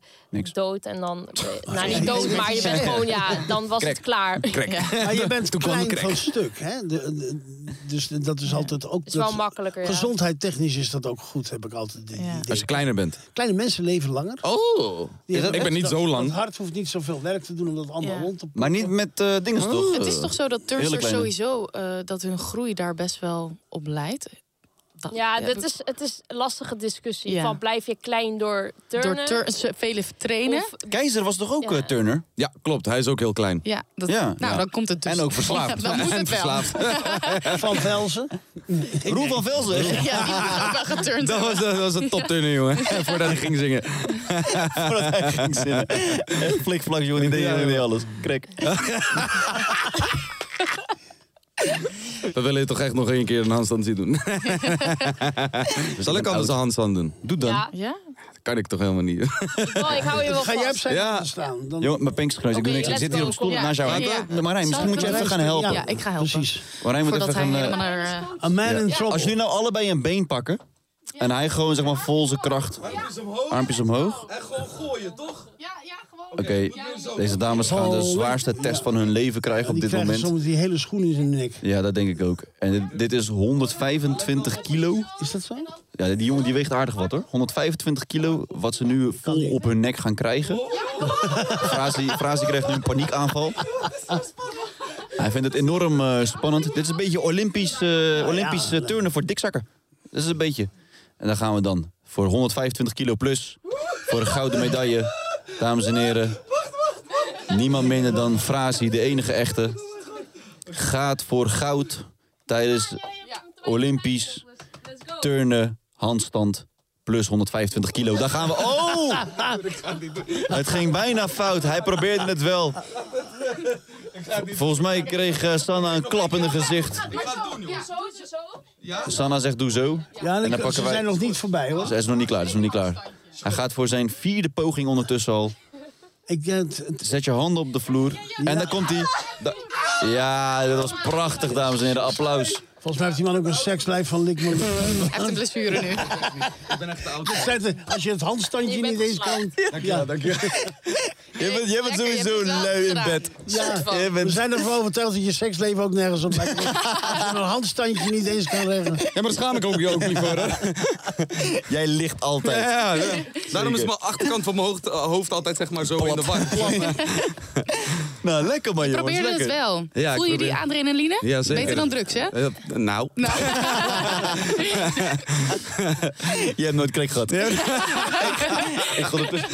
dood. En dan, nou niet dood, maar je bent gewoon, ja, dan was het klaar. Maar je bent klein van stuk, hè? De, de- dus dat is altijd ook... Is wel dat- makkelijker, ja. Gezondheidstechnisch is dat ook goed, heb ik altijd die, die Ja. idee. Als je kleiner bent. Kleine mensen leven langer. Oh, Die hebben ik ben net niet dat- zo Het lang. hart hoeft niet zoveel werk te doen om dat allemaal Ja. rond te Maar niet met eh dingen toch? Het is toch zo dat hele turnsters kleine. sowieso, eh, dat hun groei daar best wel op leidt? Dat- Ja, heb dat ik- is, het is een lastige discussie. Ja. Van blijf je klein door Door turnen? turns, eh, vele trainen. Of- Keizer was toch ook Ja. eh, turner? Ja, klopt. Hij is ook heel klein. ja, dat, Ja. nou, Ja. dan komt het dus. En ook verslaafd. dan moet en het wel. verslaafd. Van Velzen. Roel van Velzen. Ja, die moet ook wel geturnd Dat was, dat was een topturner, jongen. Voordat hij ging zingen. Voordat hij ging zinnen. Echt flikvlak, jongen. Die deed Ja, helemaal joh. niet alles. Krek. We willen je toch echt nog één keer een handstand zien doen. Zal ik anders een handstand doen? Doe dan. Ja. Ja? Dat kan ik toch helemaal niet. Oh, ik hou je wel Ga jij op vast. zijn Ja. handen staan. Dan Jongen, mijn pinkskruis, ik doe Oké, niks. Ik let's zit hier go, op stoel kom. naast jou. Ja, ja. Maar Marijn, misschien Zal moet je ik even gaan helpen. Ja, ik ga helpen. Precies. Marijn moet Voordat even hij gaan... eh, helemaal naar... eh, A man in Als trouble. jullie nou allebei een been pakken... en hij gewoon zeg maar vol zijn kracht... armpjes omhoog... En gewoon gooien, toch? Oké, deze dames gaan de zwaarste test van hun leven krijgen op Oh. Die dit krijgen moment. soms die hele schoen in zijn nek. Ja, dat denk ik ook. En dit, dit is 125 kilo. Is dat zo? Ja, die jongen die weegt aardig wat hoor. 125 kilo, wat ze nu vol op hun nek gaan krijgen. Frazi, Frazi krijgt nu een paniekaanval. Hij vindt het enorm eh, spannend. Dit is een beetje Olympisch, eh Olympisch eh, turnen voor dikzakken. Dat is een beetje. En daar gaan we dan. Voor 125 kilo plus. Voor een gouden medaille. Dames en heren. Niemand minder dan Frazi, de enige echte. Gaat voor goud tijdens Olympisch turnen, handstand, plus 125 kilo. Daar gaan we. Oh! Het ging bijna fout. Hij probeerde het wel. Volgens mij kreeg eh, Sanna een klap in het gezicht. Sanna zegt doe zo. Ja, dan dan pakken ze wij- zijn nog niet voorbij hoor. Hij is nog niet klaar, hij is nog niet klaar. Hij gaat voor zijn vierde poging ondertussen al. Ik, eh, het- het- Zet je handen op de vloer. En daar komt hij. Da- Ja, dat was prachtig, dames en heren. Applaus. volgens mij heeft die man ook een sekslijf van Likman. Hij heeft een blessure nu. Als je het handstandje Je bent niet eens kan. geslaagd. Ja, Je bent, je bent Lekker, je hebt sowieso het wel lui in gedaan. bed. Ja. Je We bent zijn ervan overtuigd dat je seksleven ook nergens op lijkt. Als je een handstandje niet eens kan leggen. Ja, maar daar schaam ik ook, je ook niet voor, hè? Jij ligt altijd. Ja, ja. Daarom is mijn achterkant van mijn hoofd, eh, hoofd altijd zeg maar zo in de war. Nou, lekker man, jongens. Probeerde het lekker. wel. Ja, ik Voel je probeer- die adrenaline? Ja, zeker. Beter dan drugs, hè? Eh, Nou. Je hebt nooit krek gehad. ik, ik ga ertussen.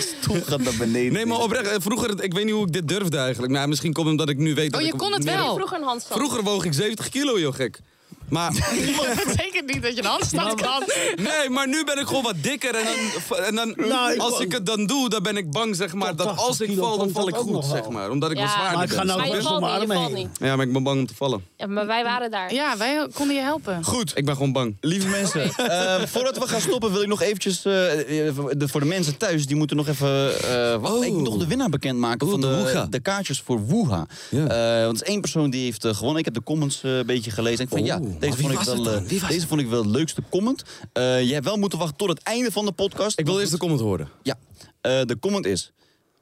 Stoel gaat naar beneden. Nee, maar oprecht, eh, vroeger, ik weet niet hoe ik dit durfde eigenlijk. Nou, misschien komt het omdat ik nu weet dat Oh, je ik kon het meer- wel. Vroeger een handstand. Vroeger woog ik 70 kilo, joh, gek. Maar Dat betekent niet dat je een handstand kan. nee, maar nu ben ik gewoon wat dikker. En dan, en dan Nou, ik als wou- ik het dan doe, dan ben ik bang, zeg maar, Tot dat 80 als ik kilo val, dan komt val dat ik ook goed, nog wel. zeg maar. Omdat ik Ja. wat Maar zwaarder ik ga ben. nou- Maar je best wel valt niet, je maar valt mee. niet. Ja, maar ik ben bang om te vallen. Ja, maar wij waren daar. Ja, wij konden je helpen. Goed. Ik ben gewoon bang. Lieve mensen, eh, voordat we gaan stoppen wil ik nog eventjes... eh, eh, de, voor de mensen thuis, die moeten nog even... eh wacht, Oh. Ik moet nog de winnaar bekendmaken Oeh, van de de, Woeha. de kaartjes voor Woeha. Ja. Eh, want er is één persoon die heeft eh, gewonnen. Ik heb de comments eh, een beetje gelezen. En ik vond, Oeh, ja, Oh, maar deze, wie vond ik, was het wel, dan? eh, Wie was deze het? vond ik wel het leukste comment. Eh jij hebt wel moeten wachten tot het einde van de podcast. Ik wil eerst de comment horen. Ja, eh, de comment is...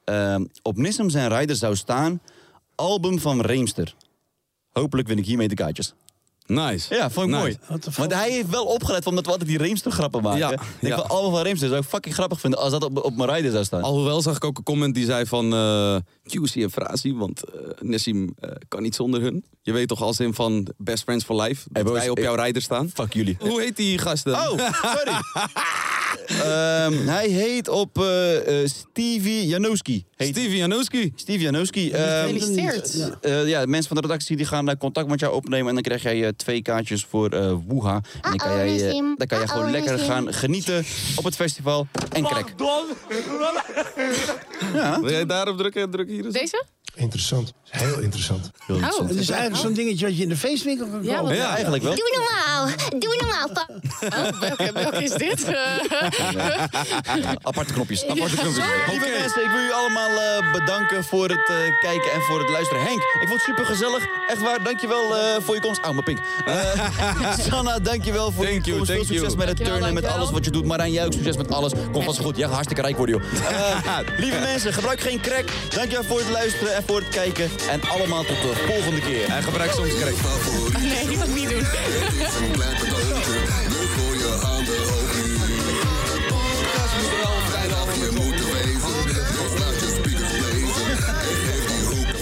eh, op Nissum zijn rijder zou staan... Album van Reemster. Hopelijk win ik hiermee de kaartjes. Nice. Ja, vond ik Nice. mooi. What the fuck? Want hij heeft wel opgelet omdat we altijd die Reemster grappen maken. Ja, ik denk ja. van allemaal van Reemster zou ik fucking grappig vinden als dat op, op mijn rider zou staan. Alhoewel zag ik ook een comment die zei van eh Juicy en Frazi, want eh Nessim eh, kan niet zonder hun. Je weet toch als in van Best Friends for Life, dat boys, wij op ik- jouw rijder staan. Fuck jullie. Hoe heet die gast dan? Oh, sorry. Ehm, hij heet op eh, eh, Stevie Janowski. Heet Stevie Janowski. Stevie Janowski. ehm, Gefeliciteerd. Ja. eh, ja, de mensen van de redactie die gaan eh, contact met jou opnemen. En dan krijg jij eh, twee kaartjes voor eh Woeha. En dan kan jij, eh, dan kan jij gewoon lekker gaan genieten op het festival. En krek. Wil jij daarop drukken? Druk hier eens. Deze? Interessant. Heel interessant. Oh, Het is eigenlijk zo'n dingetje wat je in de feestwinkel kan Ja, kopen. wat- Ja, Eigenlijk wel. Doe normaal. Doe normaal, pa. oh, welke, welke is dit? Eh, Aparte knopjes. Aparte knopjes. Lieve Oké. mensen, ik wil jullie allemaal eh, bedanken voor het eh, kijken en voor het luisteren. Henk, ik vond het super gezellig. Echt waar, dankjewel eh voor je komst. Au, mijn pink. Eh, Sanna, dankjewel voor Thank je you, komst. Veel thank you. succes met het Dankjewel, turnen en met dankjewel. alles wat je doet. Marijn, jij ook succes met alles. Kom vast goed. Jij gaat hartstikke rijk worden, joh. Eh, lieve mensen, gebruik geen crack. Dankjewel voor het luisteren en voor het kijken. En allemaal tot de volgende keer. En gebruik soms Je correct. favoriete nee, die moet ik niet doen. Het is een klein cadeautje. We gooien aan de hoogte. De podcast moet er al bijna af. Je moet er wezen. Dus laat je speakers blazen. En geef die hoek een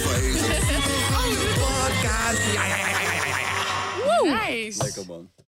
feest. Nice. man.